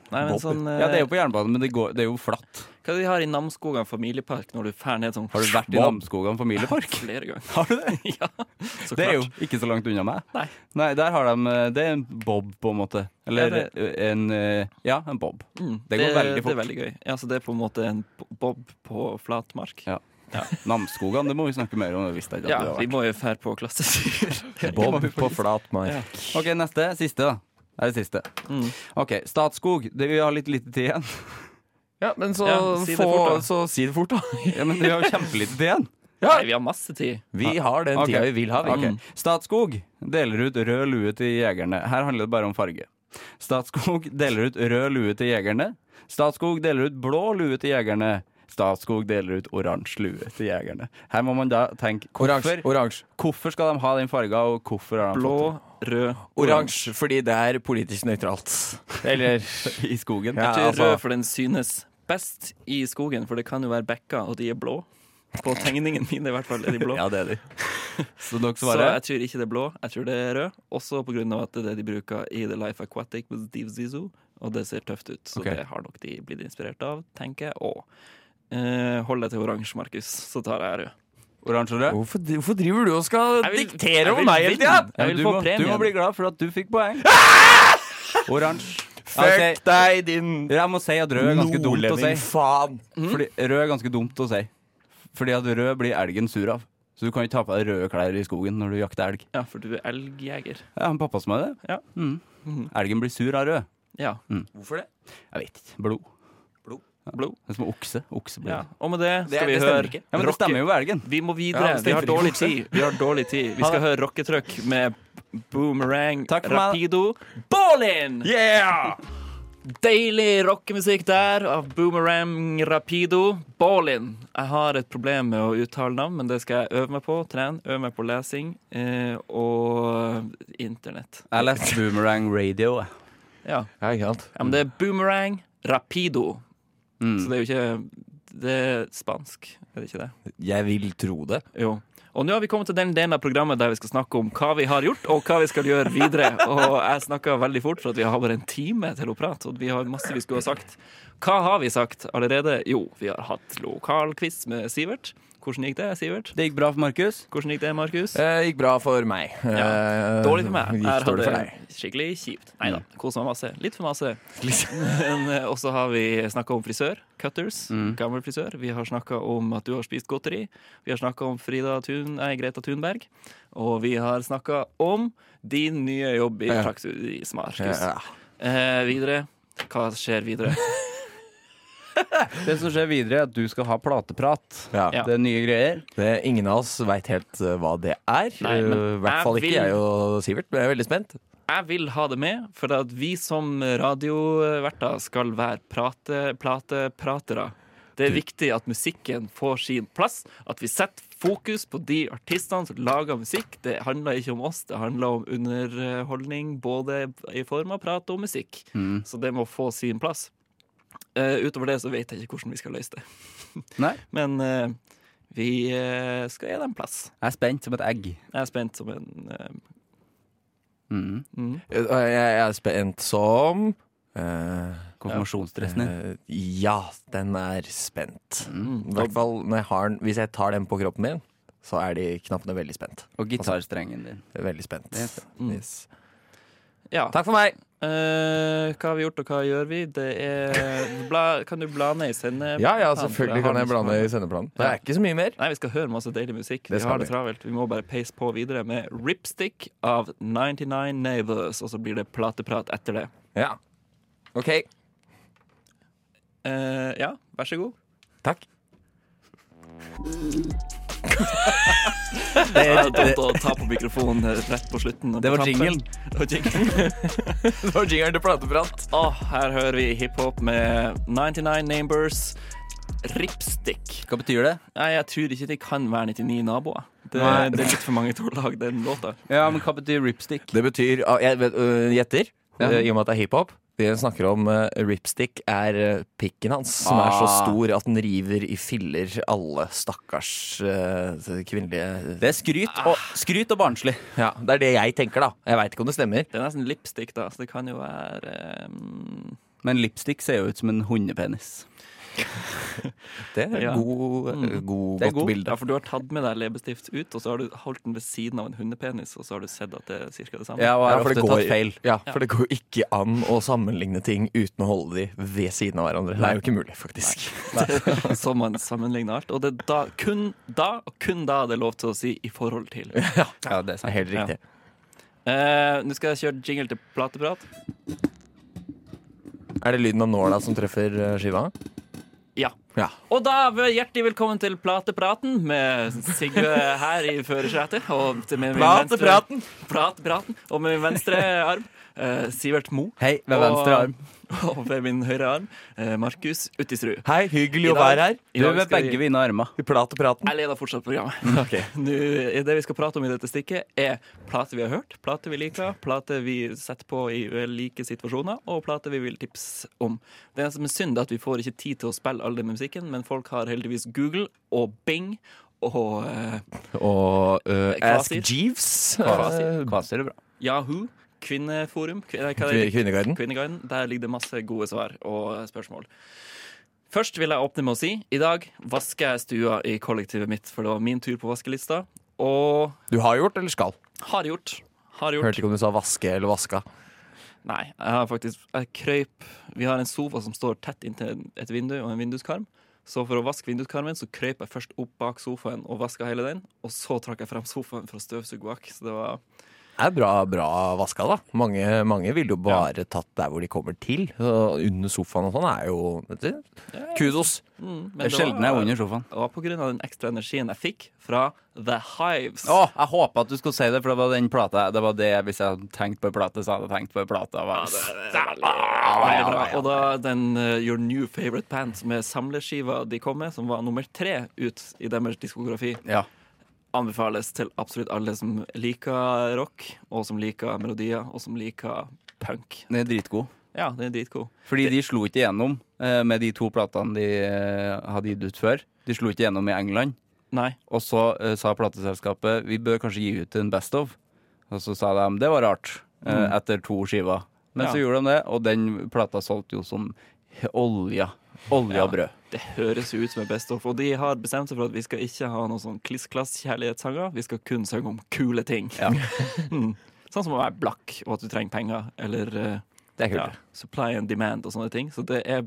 Speaker 3: Nei, men
Speaker 4: Bob.
Speaker 3: sånn eh,
Speaker 5: Ja, det er jo på jernbanen, men det, går, det er jo flatt.
Speaker 3: Hva er det de har i Namsskogan familiepark når du fær ned sånn
Speaker 5: Har du vært i
Speaker 3: Bob?
Speaker 5: Namsskogan familiepark?
Speaker 3: flere ganger?
Speaker 5: Har du det?
Speaker 3: ja, så klart.
Speaker 5: Det er jo ikke så langt unna meg.
Speaker 3: Nei.
Speaker 5: der har de eh, Det er en bob, på en måte. Eller
Speaker 3: Ja,
Speaker 5: en eh, Ja, en bob.
Speaker 3: Mm,
Speaker 5: Det går veldig
Speaker 3: Det
Speaker 5: fort.
Speaker 3: er veldig gøy. Ja, så det er på en måte en bo- bob på flat mark.
Speaker 5: Ja. Namsskogan, det må vi snakke mer om. Det visste jeg ikke
Speaker 3: Ja,
Speaker 5: at du har vært.
Speaker 3: vi må jo fær på klassetur.
Speaker 4: Bob på flat mark.
Speaker 3: Ja.
Speaker 5: Ok, neste. Siste, da. Det er det siste.
Speaker 3: Mm.
Speaker 5: Ok, Statskog. Det, vi har litt lite tid igjen.
Speaker 4: Ja, men så,
Speaker 3: Ja, si det
Speaker 4: få,
Speaker 3: fort, da.
Speaker 4: så si det fort, da.
Speaker 5: Ja, men vi har jo kjempelite tid igjen.
Speaker 3: Nei, vi har masse tid.
Speaker 4: Vi har den
Speaker 5: Ok.
Speaker 4: tida vi vil ha. Vi. Mm.
Speaker 5: Ok. Statskog deler ut rød lue til jegerne. Her handler det bare om farge. Statskog deler ut rød lue til jegerne. Statskog deler ut blå lue til jegerne. Statskog deler ut oransje lue til jegerne. Her må man da tenke hvorfor,
Speaker 4: Oransje. Oransje.
Speaker 5: hvorfor skal de ha den farga, og hvorfor har de fått
Speaker 3: Blå, rød,
Speaker 4: Oransje, fordi det er politisk nøytralt. Eller
Speaker 5: det i skogen?
Speaker 4: Ja,
Speaker 3: Ikke
Speaker 4: altså.
Speaker 3: rød, for den synes best i skogen, for det kan jo være bekker, og de er blå. På tegningen min i hvert fall er de blå.
Speaker 5: Ja, det er de. Så
Speaker 3: Så
Speaker 5: dere
Speaker 3: jeg
Speaker 5: svarer
Speaker 3: tror ikke det er blå, jeg tror det er rød. Også på grunn av at det er det de bruker i The Life Aquatic med Steve Zizou, og det ser tøft ut. Så
Speaker 5: Ok.
Speaker 3: det har nok de blitt inspirert av, tenker jeg. Og eh, hold deg til oransje, Markus, så tar jeg rød.
Speaker 5: oransje og rød?
Speaker 4: hvorfor, hvorfor driver du og skal
Speaker 3: Jeg vil-
Speaker 4: diktere
Speaker 3: jeg
Speaker 4: over
Speaker 3: vil
Speaker 4: meg hele
Speaker 3: vinne.
Speaker 4: tida?
Speaker 5: Ja,
Speaker 3: Jeg vil
Speaker 5: du,
Speaker 3: få
Speaker 5: må, du må
Speaker 3: premien.
Speaker 5: bli glad for at du fikk poeng. Oransje. Altså,
Speaker 4: Fuck deg, din
Speaker 5: Jeg må si at rød er ganske dumt å si.
Speaker 4: faen.
Speaker 3: Mm.
Speaker 5: Fordi Rød er ganske dumt å si. Fordi at rød blir elgen sur av. Så du kan ikke ha på deg røde klær i skogen når du jakter elg.
Speaker 3: Ja, for du er elgjeger.
Speaker 5: Ja, han pappa som er det.
Speaker 3: Ja.
Speaker 5: Mm. Elgen blir sur av rød.
Speaker 3: Ja.
Speaker 4: Hvorfor det?
Speaker 5: Jeg vet ikke. Blod.
Speaker 4: Blod?
Speaker 5: Ja.
Speaker 3: Blod.
Speaker 5: Det er som okse. Okse blir
Speaker 3: ja.
Speaker 5: det.
Speaker 3: Og med det
Speaker 4: Det-
Speaker 3: skal vi
Speaker 4: det stemmer
Speaker 3: høre
Speaker 4: ikke.
Speaker 5: Mm. Ja, men det
Speaker 3: Rocket-
Speaker 5: stemmer jo med elgen.
Speaker 3: Vi må
Speaker 4: Ja,
Speaker 3: videre.
Speaker 4: det
Speaker 3: vi
Speaker 4: stemmer
Speaker 3: har
Speaker 4: ikke.
Speaker 3: dårlig tid. Vi har dårlig tid. Vi skal høre rocketruck med boomerang,
Speaker 5: Takk for meg.
Speaker 3: rapido, ballin!
Speaker 4: Yeah!
Speaker 3: Deilig rockemusikk der av boomerang, rapido, ballin. Jeg har et problem med å uttale navn, men det skal jeg øve meg på. Trene, øve meg på lesing eh, og internett.
Speaker 5: Jeg leste Boomerang Radio. jeg.
Speaker 3: Ja.
Speaker 4: Ja, ikke sant?
Speaker 3: ja, men det er boomerang, rapido.
Speaker 5: Mm.
Speaker 3: Så det er jo ikke Det er spansk, er det ikke det?
Speaker 4: Jeg vil tro det.
Speaker 3: Jo. Og nå har vi kommet til den delen av programmet der vi skal snakke om hva vi har gjort, og hva vi skal gjøre videre. Og jeg snakka veldig fort, for at vi har bare en time til å prate, og vi har masse vi skulle ha sagt. Hva har vi sagt allerede? Jo, vi har hatt lokalquiz med Sivert. Hvordan gikk det, Sivert?
Speaker 5: Det gikk bra for Markus.
Speaker 3: Hvordan gikk det, Markus?
Speaker 4: Eh, gikk bra for meg. Eh,
Speaker 3: Dårlig for meg.
Speaker 4: Gikk
Speaker 3: Her har
Speaker 4: dårlig for deg. Mm.
Speaker 3: det skikkelig kjipt. Nei da. Koser meg masse. Litt for masse. Men, eh, Og så har vi snakka om frisør. Cutters.
Speaker 4: Mm.
Speaker 3: Gammel frisør. Vi har snakka om at du har spist godteri. Vi har snakka om Frida Thun, nei, Greta Thunberg. Og vi har snakka om din nye jobb i
Speaker 4: Ja.
Speaker 3: Praksis i Smarkus.
Speaker 4: Ja.
Speaker 3: Eh, videre. Hva skjer videre?
Speaker 5: Det som skjer videre, er at du skal ha plateprat.
Speaker 4: Ja.
Speaker 3: Ja.
Speaker 5: Det er nye greier.
Speaker 4: Det, Eh, ingen av oss veit helt eh, hva det er.
Speaker 3: Nei, men
Speaker 4: Eh, I hvert
Speaker 3: jeg
Speaker 4: fall ikke
Speaker 3: vil-
Speaker 4: jeg og Sivert. Men jeg er veldig spent.
Speaker 3: Jeg vil ha det med, for at vi som radioverter skal være prate, plate, pratere. Det er viktig at musikken får sin plass, at vi setter fokus på de artistene som lager musikk. Det handler ikke om oss, det handler om underholdning, både i form av prat og musikk. Så det må få sin plass. Eh, utover det så vet jeg ikke hvordan vi skal løse det.
Speaker 5: Nei.
Speaker 3: Men eh, vi eh, skal gi dem plass.
Speaker 5: Jeg er spent som et egg.
Speaker 3: Jeg er spent som en eh,
Speaker 5: Mm.
Speaker 3: mm.
Speaker 4: Eh, Jeg, jeg er spent som eh,
Speaker 5: Konfirmasjonsdressen din.
Speaker 4: eh, Ja, den er spent. I
Speaker 3: Mm.
Speaker 4: hvert fall når jeg har den, hvis jeg tar den på kroppen min, så er de knappene veldig spent.
Speaker 5: Og gitarstrengen din.
Speaker 4: Veldig spent.
Speaker 5: Det er spent.
Speaker 3: Mm.
Speaker 4: Yes.
Speaker 3: Ja.
Speaker 4: Takk for meg!
Speaker 3: Eh, hva har vi gjort, og hva gjør vi? Det er bla, Kan du bla ned i sende...
Speaker 4: Ja,
Speaker 3: planen,
Speaker 4: ja,
Speaker 3: for
Speaker 4: selvfølgelig
Speaker 3: har
Speaker 4: kan jeg
Speaker 3: den
Speaker 4: blande
Speaker 3: som-
Speaker 4: i sendeplanen. Det er ikke så mye mer.
Speaker 3: Nei, vi skal høre masse deilig musikk.
Speaker 4: Det
Speaker 3: Vi
Speaker 4: skal
Speaker 3: har det
Speaker 4: vi.
Speaker 3: travelt. Vi må bare peise på videre med Ripstick av 99 Neighbors, og så blir det plateprat etter det.
Speaker 4: Ja. OK.
Speaker 3: Eh, ja, vær så god.
Speaker 4: Takk.
Speaker 3: Det er dumt å ta på mikrofonen rett på slutten. og
Speaker 5: Det
Speaker 3: på
Speaker 5: var
Speaker 3: tampen.
Speaker 5: jinglen.
Speaker 3: Og jinglen.
Speaker 4: Det var jingeren til plateprat.
Speaker 3: Åh, her hører vi hiphop med 99 Neighbors. Ripstick.
Speaker 5: Hva betyr det?
Speaker 3: Nei, jeg tror ikke det kan være 99 naboer. Det,
Speaker 5: Nei.
Speaker 3: det er litt for mange til å lage den låta.
Speaker 5: Ja, men hva betyr ripstick?
Speaker 4: Det betyr ah, Jeg vet, øh, gjetter,
Speaker 5: Ja.
Speaker 4: øh, i og med at det er hiphop. De snakker om øh, ripstick er øh, pikken hans, som er så
Speaker 5: Ah.
Speaker 4: stor at den river i filler alle stakkars øh, kvinnelige
Speaker 5: Det er skryt og, skryt og barnslig.
Speaker 4: Ja, det er det jeg tenker, da. Jeg veit ikke om det stemmer.
Speaker 3: Det er nesten lipstick, da, så det kan jo være ehm,
Speaker 5: Men lipstick ser jo ut som en hundepenis.
Speaker 4: Det er
Speaker 3: Ja.
Speaker 4: god,
Speaker 3: Mm.
Speaker 4: god,
Speaker 5: Det er
Speaker 4: godt
Speaker 5: god.
Speaker 4: bilde.
Speaker 3: Ja, for du har tatt med deg leppestift ut, og så har du holdt den ved siden av en hundepenis, og så har du sett at det er cirka det samme.
Speaker 5: Ja, og har
Speaker 4: Ja, for det
Speaker 5: ofte
Speaker 4: går-
Speaker 5: tatt feil.
Speaker 4: Ja, for det går jo ikke an å sammenligne ting uten å holde de ved siden av hverandre. Det er jo ikke mulig, faktisk.
Speaker 3: Så man sammenligner alt. Og det er da, kun da, og kun da, det er lov til å si 'i forhold til'.
Speaker 5: Ja, det er
Speaker 4: Det er
Speaker 5: sant.
Speaker 4: helt riktig.
Speaker 3: Eh, Nå skal jeg kjøre jingle til plateprat.
Speaker 4: Er det lyden av nåla som treffer øh, skiva?
Speaker 3: Ja.
Speaker 4: Ja.
Speaker 3: Og da vær hjertelig velkommen til Platepraten med Sigve her i førersetet. Og til- med min venstre-
Speaker 4: Platepraten.
Speaker 3: Platepraten. Og med min venstre arm eh, Sivert Mo.
Speaker 5: Hei, ved venstre arm.
Speaker 3: Og ved min høyre arm eh, Markus Uttisrud.
Speaker 4: Hei,
Speaker 3: I
Speaker 4: hyggelig å
Speaker 3: dag-
Speaker 4: være her.
Speaker 3: I
Speaker 5: Du
Speaker 3: dag
Speaker 5: er
Speaker 3: skal
Speaker 5: ved
Speaker 3: vi-
Speaker 5: begge vine armer.
Speaker 4: I plat og praten.
Speaker 3: Jeg leder fortsatt programmet. Nå, det vi skal prate om i dette stikket, er plater vi har hørt, plater vi liker, plater vi setter på i ulike situasjoner, og plater vi vil tipse om. Det er som er synd, at vi får ikke tid til å spille all den musikken, men folk har heldigvis Google og Bing og eh,
Speaker 4: Og øh, Ask
Speaker 3: Kvasir.
Speaker 4: Jeeves.
Speaker 3: Kvasir.
Speaker 4: øh,
Speaker 5: Kvasir er bra.
Speaker 3: Yahoo, Kvinneforum Kvi- nei, hva er
Speaker 4: Kvin-
Speaker 3: det?
Speaker 4: Kvinneguiden.
Speaker 3: Kvinneguiden. Der ligger det masse gode svar og spørsmål. Først vil jeg åpne med å si i dag vasker jeg stua i kollektivet mitt, for det var min tur på vaskelista. Og
Speaker 4: Du har gjort eller skal?
Speaker 3: har gjort. Har gjort.
Speaker 4: Hørte ikke om du sa vaske eller vaska.
Speaker 3: Nei, jeg har faktisk jeg krøyp Vi har en sofa som står tett inntil et vindu og en vinduskarm. Så for å vaske vinduskarmen, så krøyp jeg først opp bak sofaen og vaska hele den. Og så trakk jeg frem sofaen for å støvsuge bak. Så det var
Speaker 4: Det er bra, bra vaska, da. Mange, mange ville jo bare tatt der hvor de kommer til. Og under sofaen og sånn er jo vet du, Kudos.
Speaker 3: Mm, men
Speaker 5: Det er
Speaker 3: det
Speaker 5: sjelden
Speaker 3: var-
Speaker 5: jeg er under sofaen.
Speaker 3: Det var på grunn av den ekstra energien jeg fikk fra The Hives.
Speaker 5: Å, jeg håpa at du skulle si det, for det var den plata Det var det hvis jeg hadde tenkt på en plate, så hadde jeg tenkt på en plate. Ja,
Speaker 3: Veldig bra. Og da den eh, Your New Favorite Band med samleskiva de kom med, som var nummer tre ut i deres diskografi,
Speaker 5: ja.
Speaker 3: anbefales til absolutt alle som liker rock, og som liker melodier, og som liker punk.
Speaker 5: Den er dritgod.
Speaker 3: Ja, den er dritgod.
Speaker 5: Fordi de slo ikke igjennom eh, med de to platene de eh, hadde gitt ut før. De slo ikke igjennom i England.
Speaker 3: Nei.
Speaker 5: Og så eh, sa plateselskapet vi bør kanskje gi ut en Best of. Og så sa de det var rart, eh,
Speaker 3: Mm.
Speaker 5: etter to skiver. Men
Speaker 3: Ja.
Speaker 5: så gjorde de det, og den plata solgte jo som olja. Olje og brød.
Speaker 3: Det høres jo ut som et best of, og de har bestemt seg for at vi skal ikke ha noen sånn kliss-klass-kjærlighetssanger. Vi skal kun synge om kule ting.
Speaker 5: Ja.
Speaker 3: Mm. Sånn som å være blakk, og at du trenger penger, eller eh,
Speaker 4: Det er kult.
Speaker 3: ja, supply and demand og sånne ting. Så det er,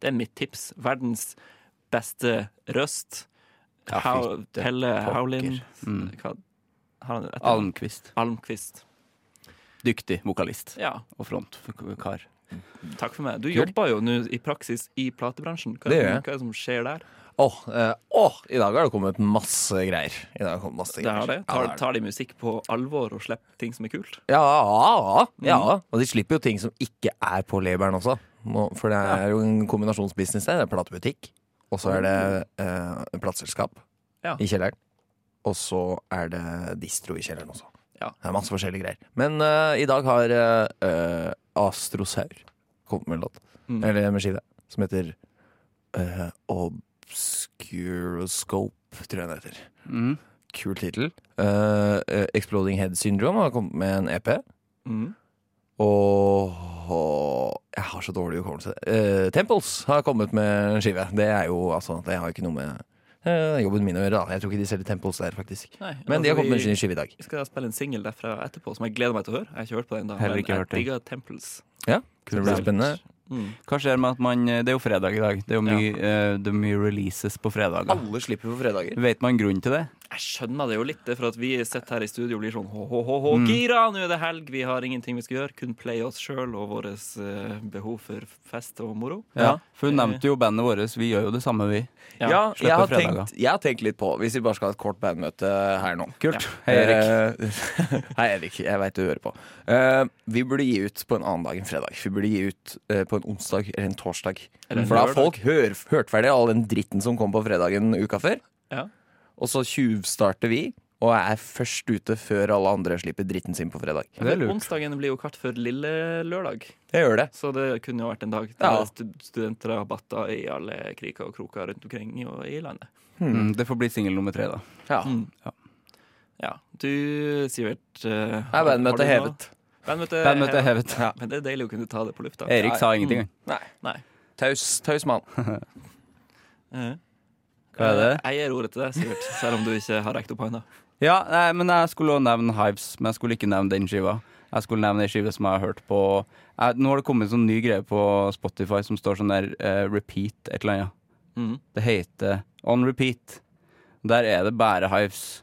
Speaker 3: det er mitt tips. Verdens beste røst.
Speaker 5: Ja,
Speaker 3: Hau,
Speaker 5: fytte
Speaker 3: Pelle
Speaker 5: pokker.
Speaker 3: Haulin.
Speaker 5: Mm.
Speaker 3: Hva har han etter?
Speaker 5: Almqvist.
Speaker 3: Almqvist.
Speaker 5: Dyktig vokalist
Speaker 3: Ja,
Speaker 5: og frontkar.
Speaker 3: takk for meg. Du
Speaker 4: Kult.
Speaker 3: jobber jo nå i praksis i platebransjen. Hva,
Speaker 4: Det
Speaker 3: er
Speaker 4: gjør jeg.
Speaker 3: hva er det som skjer der?
Speaker 4: Åh, eh, åh, i dag har det kommet masse greier. I dag har det kommet masse
Speaker 3: Det har
Speaker 4: greier.
Speaker 3: det.
Speaker 4: Ja,
Speaker 3: Tar,
Speaker 4: det har det.
Speaker 3: tar de musikk på alvor og slipper ting som er kult?
Speaker 4: Ja, ja, ja. Og de slipper jo ting som ikke er på labelen også. Må- For det er jo en kombinasjonsbusiness der. Det er platebutikk, og så er det eh, plateselskap
Speaker 3: Ja.
Speaker 4: i kjelleren. Og så er det distro i kjelleren også.
Speaker 3: Ja.
Speaker 4: Det er masse forskjellige greier. Men eh, i dag har eh, eh, Astrosaur kommet med en låt,
Speaker 3: Mm.
Speaker 4: eller med skive, som heter eh, Obscuroscope, tror jeg den heter.
Speaker 5: Mm.
Speaker 4: Kul tittel. Eh, eh, Exploding Head Syndrome har kommet med en E EP.
Speaker 3: Mm.
Speaker 4: Og og- jeg har så dårlig hukommelse. Eh, Temples har kommet med en skive. Det er jo altså Det har ikke noe med eh, jobben min å gjøre. da Jeg tror ikke de selger Temples der, faktisk.
Speaker 3: Nei,
Speaker 4: Men de har
Speaker 3: altså,
Speaker 4: kommet med en
Speaker 3: vi-
Speaker 4: ny skive i dag.
Speaker 3: Vi skal spille en singel derfra etterpå, som jeg gleder meg til å høre. Jeg har ikke hørt på den da,
Speaker 5: Heller
Speaker 3: men
Speaker 5: ikke hørt
Speaker 3: jeg
Speaker 5: den.
Speaker 3: digger Temples.
Speaker 4: Ja, det blir spennende.
Speaker 3: Mm.
Speaker 5: Hva skjer med at man eh, Det er jo fredag i dag. Det er jo mye, eh, det er mye releases på fredager.
Speaker 4: Alle slipper på fredager.
Speaker 5: Vet man grunnen til det?
Speaker 3: Jeg skjønner det jo litt, det, for at vi sitter her i studio og blir sånn hå-hå-hå, gira, nå er det helg, vi har ingenting vi skal gjøre, kun play oss sjøl og vårt behov for fest og moro.
Speaker 5: Ja, For hun nevnte jo bandet vårt. Vi gjør jo det samme, vi.
Speaker 4: Ja,
Speaker 5: slipper
Speaker 4: jeg, har
Speaker 5: fredager.
Speaker 4: tenkt, jeg har tenkt litt på, hvis vi bare skal ha et kort bandmøte her nå
Speaker 5: Kult. Hei, Erik.
Speaker 4: Eh, Hei, Erik. Jeg veit du hører på. Eh, vi burde gi ut på en annen dag enn fredag. Vi burde gi ut eh, på en onsdag eller en torsdag.
Speaker 3: Eller en
Speaker 4: For da har
Speaker 3: lørdag.
Speaker 4: folk hør, hørt ferdig all den dritten som kom på fredagen uka før.
Speaker 3: Ja.
Speaker 4: Og så tjuvstarter vi, og er først ute før alle andre slipper dritten sin på fredag.
Speaker 5: Det er lurt.
Speaker 3: Onsdagen blir jo kart for lille lørdag,
Speaker 4: Jeg gjør det.
Speaker 3: så det kunne jo vært en dag der
Speaker 4: Ja.
Speaker 3: det er stu- studentrabatter i alle kriker og kroker rundt omkring og i landet.
Speaker 5: Mm, det får bli singel nummer tre, da.
Speaker 4: Ja.
Speaker 3: Mm. Ja. Du, Sivert eh,
Speaker 4: Er
Speaker 3: har- har du
Speaker 4: bandmøtet
Speaker 3: noe?
Speaker 4: hevet?
Speaker 3: Bandmøtet er
Speaker 5: Bandmøtet er
Speaker 3: hevet.
Speaker 5: hevet.
Speaker 3: Men det er deilig å kunne ta det på lufta. mm.
Speaker 5: Erik sa ingenting.
Speaker 3: Nei.
Speaker 4: Taus, taus mann.
Speaker 3: Eh,
Speaker 5: Hva er det?
Speaker 3: Jeg gir ordet til deg, Sivert, selv om du ikke har rekt opp hånda.
Speaker 5: Ja, nei, men jeg skulle også nevne Hives, men jeg skulle ikke nevne den skiva. Jeg skulle nevne ei skive som jeg har hørt på jeg, Nå har det kommet en sånn ny greie på Spotify som står sånn der eh, repeat et eller annet.
Speaker 3: Mhm.
Speaker 5: Det heter On Repeat. Der er det bare Hives.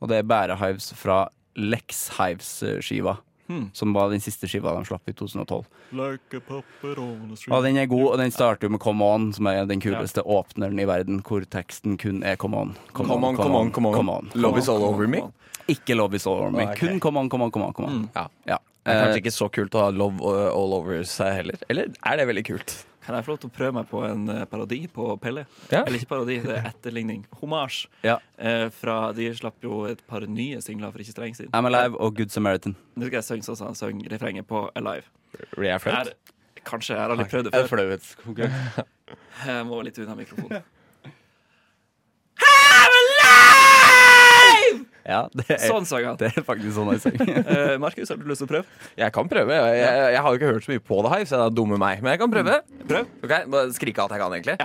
Speaker 5: Og det er bare Hives fra Lex Hives-skiva.
Speaker 3: Hmm.
Speaker 5: Som var den siste skiva de slapp i 2012.
Speaker 1: Like a puppet on a string.
Speaker 5: Og den er god, og den starter jo med Come On, som er den kuleste åpneren i verden, hvor teksten kun er Come On.
Speaker 4: Come on, come on, come on. Love is all over me.
Speaker 5: Ikke Love Is All Over Me.
Speaker 4: Ah, ok.
Speaker 5: Kun Come On, Come On, Come On. Come on.
Speaker 4: Ja.
Speaker 5: Mm. Ja.
Speaker 4: Det er
Speaker 5: Eh,
Speaker 4: kanskje ikke så kult å ha love uh, all over seg heller. Eller er det veldig kult?
Speaker 3: Kan jeg få lov til å prøve meg på en eh, parodi på Pelle?
Speaker 4: Ja.
Speaker 3: Eller ikke parodi, det er etterligning. Hommage.
Speaker 5: Ja.
Speaker 3: Eh, fra, de slapp jo et par nye singler for ikke så lenge siden.
Speaker 5: I'm Alive og Good Samaritan.
Speaker 3: Nå skal jeg synge sånn som han sang refrenget på Alive.
Speaker 4: Blir jeg flaut?
Speaker 3: Er- kanskje. Jeg har aldri prøvd det før.
Speaker 5: flauhetskonkurranse?
Speaker 3: Jeg må litt unna mikrofonen.
Speaker 5: Ja, det er,
Speaker 3: Sånn sang han.
Speaker 5: det er faktisk sånn jeg sier.
Speaker 3: Eh, Markus, har du lyst til å prøve?
Speaker 4: Jeg kan prøve. Jeg, jeg, jeg har jo ikke hørt så mye på det her, så det er dumme meg. Men jeg kan prøve.
Speaker 3: Prøv.
Speaker 4: Ok, Bare skrike alt jeg kan, egentlig.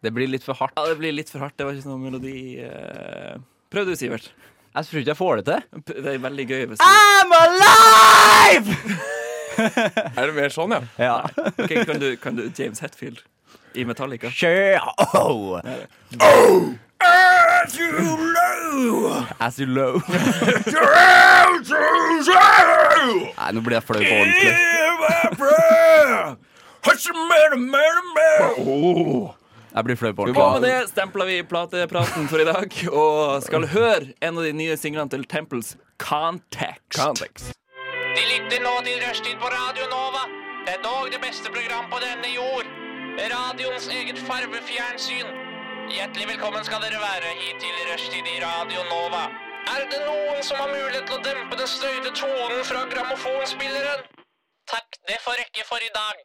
Speaker 5: Det blir litt for hardt.
Speaker 3: Ja, det blir litt for hardt. Det var ikke noe melodi. eh. Prøv du, Sivert.
Speaker 5: Jeg tror ikke jeg får det til.
Speaker 3: P- Det er veldig gøy hvis du
Speaker 5: I'm alive!
Speaker 4: Er det mer sånn, ja?
Speaker 5: Ja.
Speaker 3: Ok, kan, du, kan du James Hetfield i Metallica?
Speaker 5: Sure. Oh.
Speaker 4: As you know,
Speaker 5: As you low. Nei, nå blir jeg flau på ordentlig. Jeg blir flau på
Speaker 3: Og med
Speaker 5: ordentlig.
Speaker 3: det stempler vi platepraten for i dag og skal høre en av de nye singlene til Temples, Context.
Speaker 4: Context.
Speaker 10: De lytter nå til Rushtid på Radio Nova. Det er dog det beste program på denne jord. Radioens eget farvefjernsyn. Hjertelig velkommen skal dere være hit til Rushtid i Radio Nova. Er det noen som har mulighet til å dempe den støyte tonen fra grammofonspilleren? Takk, det får rekke for i dag.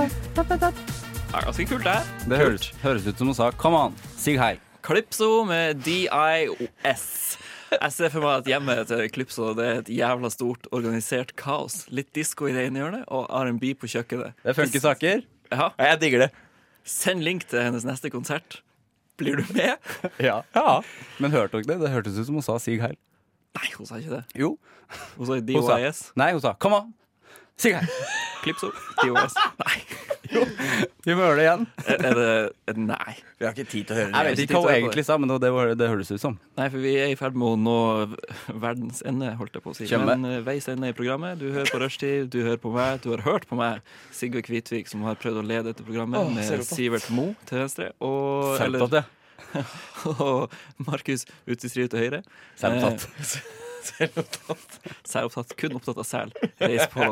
Speaker 3: Det er ganske kult, det. her.
Speaker 5: Det høres, høres ut som hun sa Come on, sig hei.
Speaker 3: Calypso med DIOS. Jeg ser for meg at hjemmet til Calypso det er et jævla stort organisert kaos. Litt disko i det ene hjørnet og R&B på kjøkkenet.
Speaker 5: Det er funky saker.
Speaker 3: Ja.
Speaker 5: Jeg digger det.
Speaker 3: Send link til hennes neste konsert. Blir du med?
Speaker 5: Ja. Men hørte dere det? Det hørtes ut som hun sa sig heil.
Speaker 3: Nei, hun sa ikke det.
Speaker 5: Jo.
Speaker 3: Hun sa
Speaker 5: Hun sa,
Speaker 3: DIOS.
Speaker 5: nei, hun sa come on, sig hei.
Speaker 3: Calypso. DIOS. Nei.
Speaker 5: Vi må høre det igjen.
Speaker 3: Er er det Nei.
Speaker 4: Vi har ikke tid til å høre
Speaker 5: Jeg vet ikke hva hun egentlig sa, men det, det, var- det høres ut som.
Speaker 3: Nei, for vi er i ferd med å nå verdens ende, holdt jeg på å si.
Speaker 5: Kjempe.
Speaker 3: Men eh, veis ende i programmet. Du hører på Rushtid, du hører på meg, du har hørt på meg, Sigve Kvitvik, som har prøvd å lede dette programmet, med Sivert Mo til venstre, og,
Speaker 5: Selv tatt,
Speaker 3: eller,
Speaker 5: ja.
Speaker 3: og Markus Utestrid til høyre. Eh,
Speaker 5: Selv
Speaker 4: Eh,
Speaker 5: tatt.
Speaker 3: Særopptatt. Kun opptatt av sel. Reis på,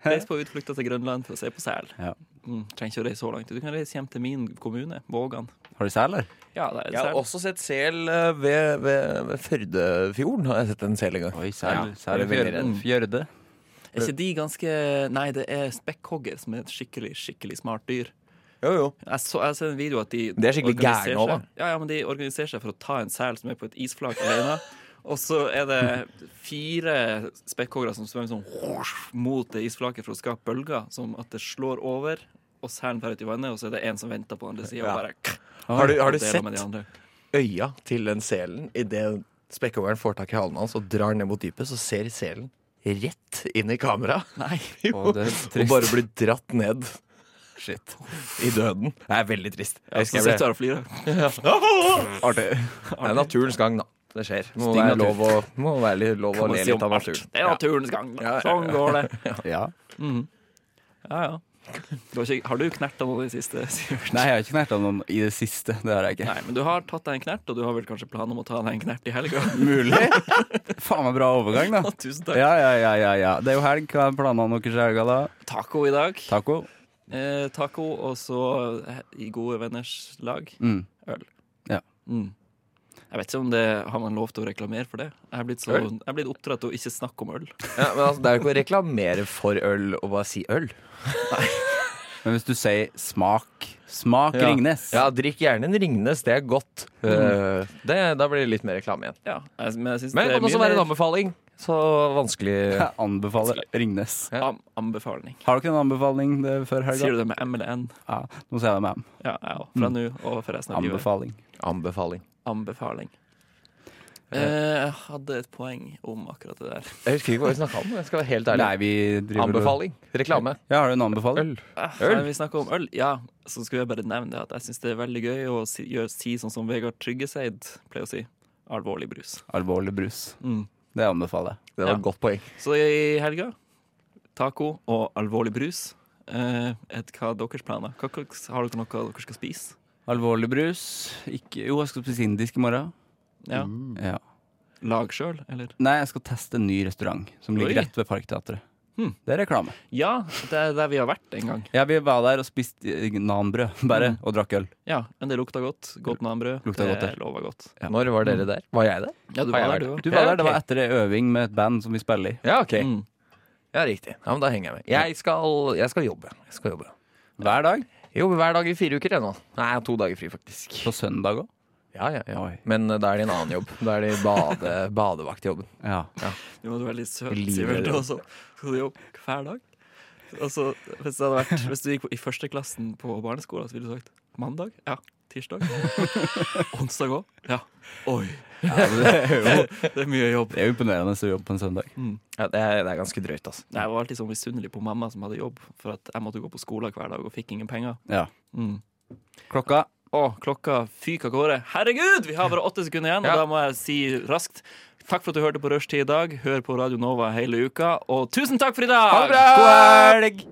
Speaker 3: reis på utflukter til Grønland for å se på sel.
Speaker 5: Ja.
Speaker 3: Mm, trenger ikke å reise så langt. Du kan reise hjem til min kommune, Vågan.
Speaker 5: Har du sel, eller?
Speaker 3: Ja, det er
Speaker 4: Jeg har
Speaker 3: sel.
Speaker 4: også sett sel eh, ved, ved, ved Førdefjorden. Har jeg sett en sel en gang.
Speaker 5: Oi,
Speaker 3: Ja,
Speaker 5: sel.
Speaker 4: jeg
Speaker 5: Sel
Speaker 4: er veldig
Speaker 5: fjørde. fjørde.
Speaker 3: Er ikke de ganske Nei, det er spekkhogger som er et skikkelig, skikkelig smart dyr.
Speaker 4: Jo, jo.
Speaker 3: Jeg så, jeg så en video at de
Speaker 4: Det er skikkelig
Speaker 3: organiserer
Speaker 4: gærne også, da.
Speaker 3: seg- Ja, ja, men de organiserer seg for å ta en sel som er på et isflak alene. Og så er det fire spekkhoggere som svømmer sånn mot det isflaket for å skape bølger, som at det slår over, og selen drar ut i vannet, og så er det en som venter på andre sida.
Speaker 4: Ja.
Speaker 3: og bare
Speaker 4: Har du, har du
Speaker 3: deler med
Speaker 4: sett
Speaker 3: de andre.
Speaker 4: øya til den selen idet spekkhoggeren får tak i halen hans og drar ned mot dypet, så ser selen rett inn i kameraet.
Speaker 3: Nei.
Speaker 5: Å, det er
Speaker 4: Og
Speaker 5: trist.
Speaker 4: bare blir dratt ned. Shit. I døden. Det er veldig trist.
Speaker 3: Ja, så sitter jeg og flirer.
Speaker 4: Artig. Det er naturens gang, da. Det skjer. Det må være lov å, må være litt lov å
Speaker 3: Kan man
Speaker 4: le
Speaker 3: si
Speaker 4: litt
Speaker 3: om
Speaker 4: av
Speaker 3: alt.
Speaker 4: naturen.
Speaker 3: Det er naturens gang. da. Sånn går det.
Speaker 5: Ja.
Speaker 3: Ja, ja. Du har, ikke, har du knerta noe i det siste, Sivert?
Speaker 5: Nei, jeg har ikke knerta noen i det siste. Det har jeg ikke.
Speaker 3: Nei, men du har tatt deg en knert, og du har vel kanskje planen om å ta deg en knert i helga?
Speaker 5: Mulig. Faen meg bra overgang, da.
Speaker 3: Tusen takk.
Speaker 5: Ja, ja, ja, ja, ja. Det er jo helg. Hva er planene deres i helga, da?
Speaker 3: Taco i dag.
Speaker 5: Taco?
Speaker 3: Eh, taco, og så eh, i gode venners lag.
Speaker 5: Mm.
Speaker 3: Øl.
Speaker 5: Ja.
Speaker 3: Mm. Jeg vet ikke om det har man lov til å reklamere for det. Jeg er blitt, så,
Speaker 4: Øl?
Speaker 3: jeg er blitt oppdratt til å ikke snakke om øl.
Speaker 4: Ja, men altså, det er jo ikke å reklamere for øl og bare si øl.
Speaker 5: Men hvis du sier smak Smak Ringnes.
Speaker 4: Ja, drikk gjerne en Ringnes. Det er godt. Eh, det, da blir det litt mer reklame igjen.
Speaker 3: Ja, jeg, Eh, men jeg syns
Speaker 4: Men
Speaker 3: det
Speaker 4: det
Speaker 3: er
Speaker 4: kan også
Speaker 3: mye
Speaker 4: være en
Speaker 3: mer
Speaker 4: anbefaling. Så vanskelig
Speaker 5: Jeg anbefaler Ringnes.
Speaker 3: am anbefaling.
Speaker 5: Har dere en anbefaling det før
Speaker 3: Sier
Speaker 5: helga?
Speaker 3: du det med M eller N?
Speaker 5: Ja, nå sier jeg det med ham.
Speaker 3: Ja, jeg òg.
Speaker 4: Mm.
Speaker 3: Fra nå og for resten av livet.
Speaker 5: Anbefaling.
Speaker 4: anbefaling.
Speaker 3: Anbefaling. Eh, jeg hadde et poeng om akkurat det der.
Speaker 4: Jeg husker ikke hva vi snakka om. Jeg skal være helt ærlig.
Speaker 5: Nei, vi driver og-
Speaker 4: Anbefaling. Reklame.
Speaker 5: Ja, har du en anbefaling?
Speaker 3: Eh,
Speaker 4: Øl?
Speaker 3: Nei, vi snakker om øl. Ja, så skulle jeg bare nevne det at jeg syns det er veldig gøy å si, gjøre, si sånn som Vegard Tryggeseid pleier å si. Alvorlig brus.
Speaker 5: Alvorlig brus.
Speaker 3: Mm.
Speaker 5: Det anbefaler jeg.
Speaker 4: Det var
Speaker 3: Ja.
Speaker 4: et godt poeng.
Speaker 3: Så i helga, taco og alvorlig brus. Eh, et, hva er deres planer? Hva, hva- har dere noe dere skal spise?
Speaker 5: Alvorlig brus ikke, Jo, jeg skal spise indisk i morgen.
Speaker 3: Ja.
Speaker 4: Mm.
Speaker 5: Ja.
Speaker 3: Lag sjøl, eller?
Speaker 5: Nei, jeg skal teste en ny restaurant som ligger
Speaker 3: Oi.
Speaker 5: rett ved Parkteatret.
Speaker 4: Hm.
Speaker 3: Hmm.
Speaker 5: Det er reklame.
Speaker 3: Ja, det er der vi har vært en gang.
Speaker 5: Ja, vi var der og spiste eh, nanbrød bare,
Speaker 4: Mm.
Speaker 5: og drakk øl.
Speaker 3: Ja, Men det lukta godt. Godt nanbrød.
Speaker 5: Lukta
Speaker 3: det
Speaker 5: godt, det.
Speaker 3: lover godt.
Speaker 4: Når var dere der? Mm. Var jeg der?
Speaker 3: Ja, du
Speaker 4: Har
Speaker 3: var
Speaker 4: jeg
Speaker 3: der,
Speaker 4: vært
Speaker 3: du òg.
Speaker 5: Du var
Speaker 4: Ja,
Speaker 5: der, det var
Speaker 4: ok.
Speaker 5: etter ei øving med et band som vi spiller i.
Speaker 4: Ja, ok.
Speaker 3: Mm.
Speaker 4: Ja, riktig. Ja, men Da henger jeg med. Jeg skal, jeg skal jobbe. Jeg skal jobbe.
Speaker 5: Hver dag.
Speaker 4: Jobber hver dag i fire uker jeg nå. Nei, jeg har to dager fri, faktisk.
Speaker 5: På søndag òg.
Speaker 4: Ja, ja, ja.
Speaker 5: Oi.
Speaker 4: Men eh, da er det en annen jobb. Da er det bade, badevaktjobben.
Speaker 5: Ja.
Speaker 3: Du må være litt søt,
Speaker 4: Livredd.
Speaker 3: Sivert. og så Skal du jobbe hver dag? Altså, hvis, det hadde vært, hvis du gikk på, i første klassen på barneskolen, så ville du sagt mandag? Ja. Tirsdag? Onsdag òg? Ja. Oi.
Speaker 5: Ja, men det er jo-
Speaker 3: det er mye jobb.
Speaker 5: Det er jo imponerende å jobbe på en søndag.
Speaker 4: Mm. Ja, det, er, det er ganske drøyt, altså.
Speaker 3: Nei, Jeg var alltid sånn misunnelig på mamma som hadde jobb, for at jeg måtte gå på skolen hver dag og fikk ingen penger.
Speaker 5: Ja.
Speaker 3: Mm.
Speaker 5: Klokka
Speaker 3: Å, klokka fyker av gårde. Herregud, vi har bare åtte sekunder igjen,
Speaker 5: Ja.
Speaker 3: og da må jeg si raskt takk for at du hørte på Rushtid i dag. Hør på Radio Nova hele uka, og tusen takk for i dag!
Speaker 5: God helg!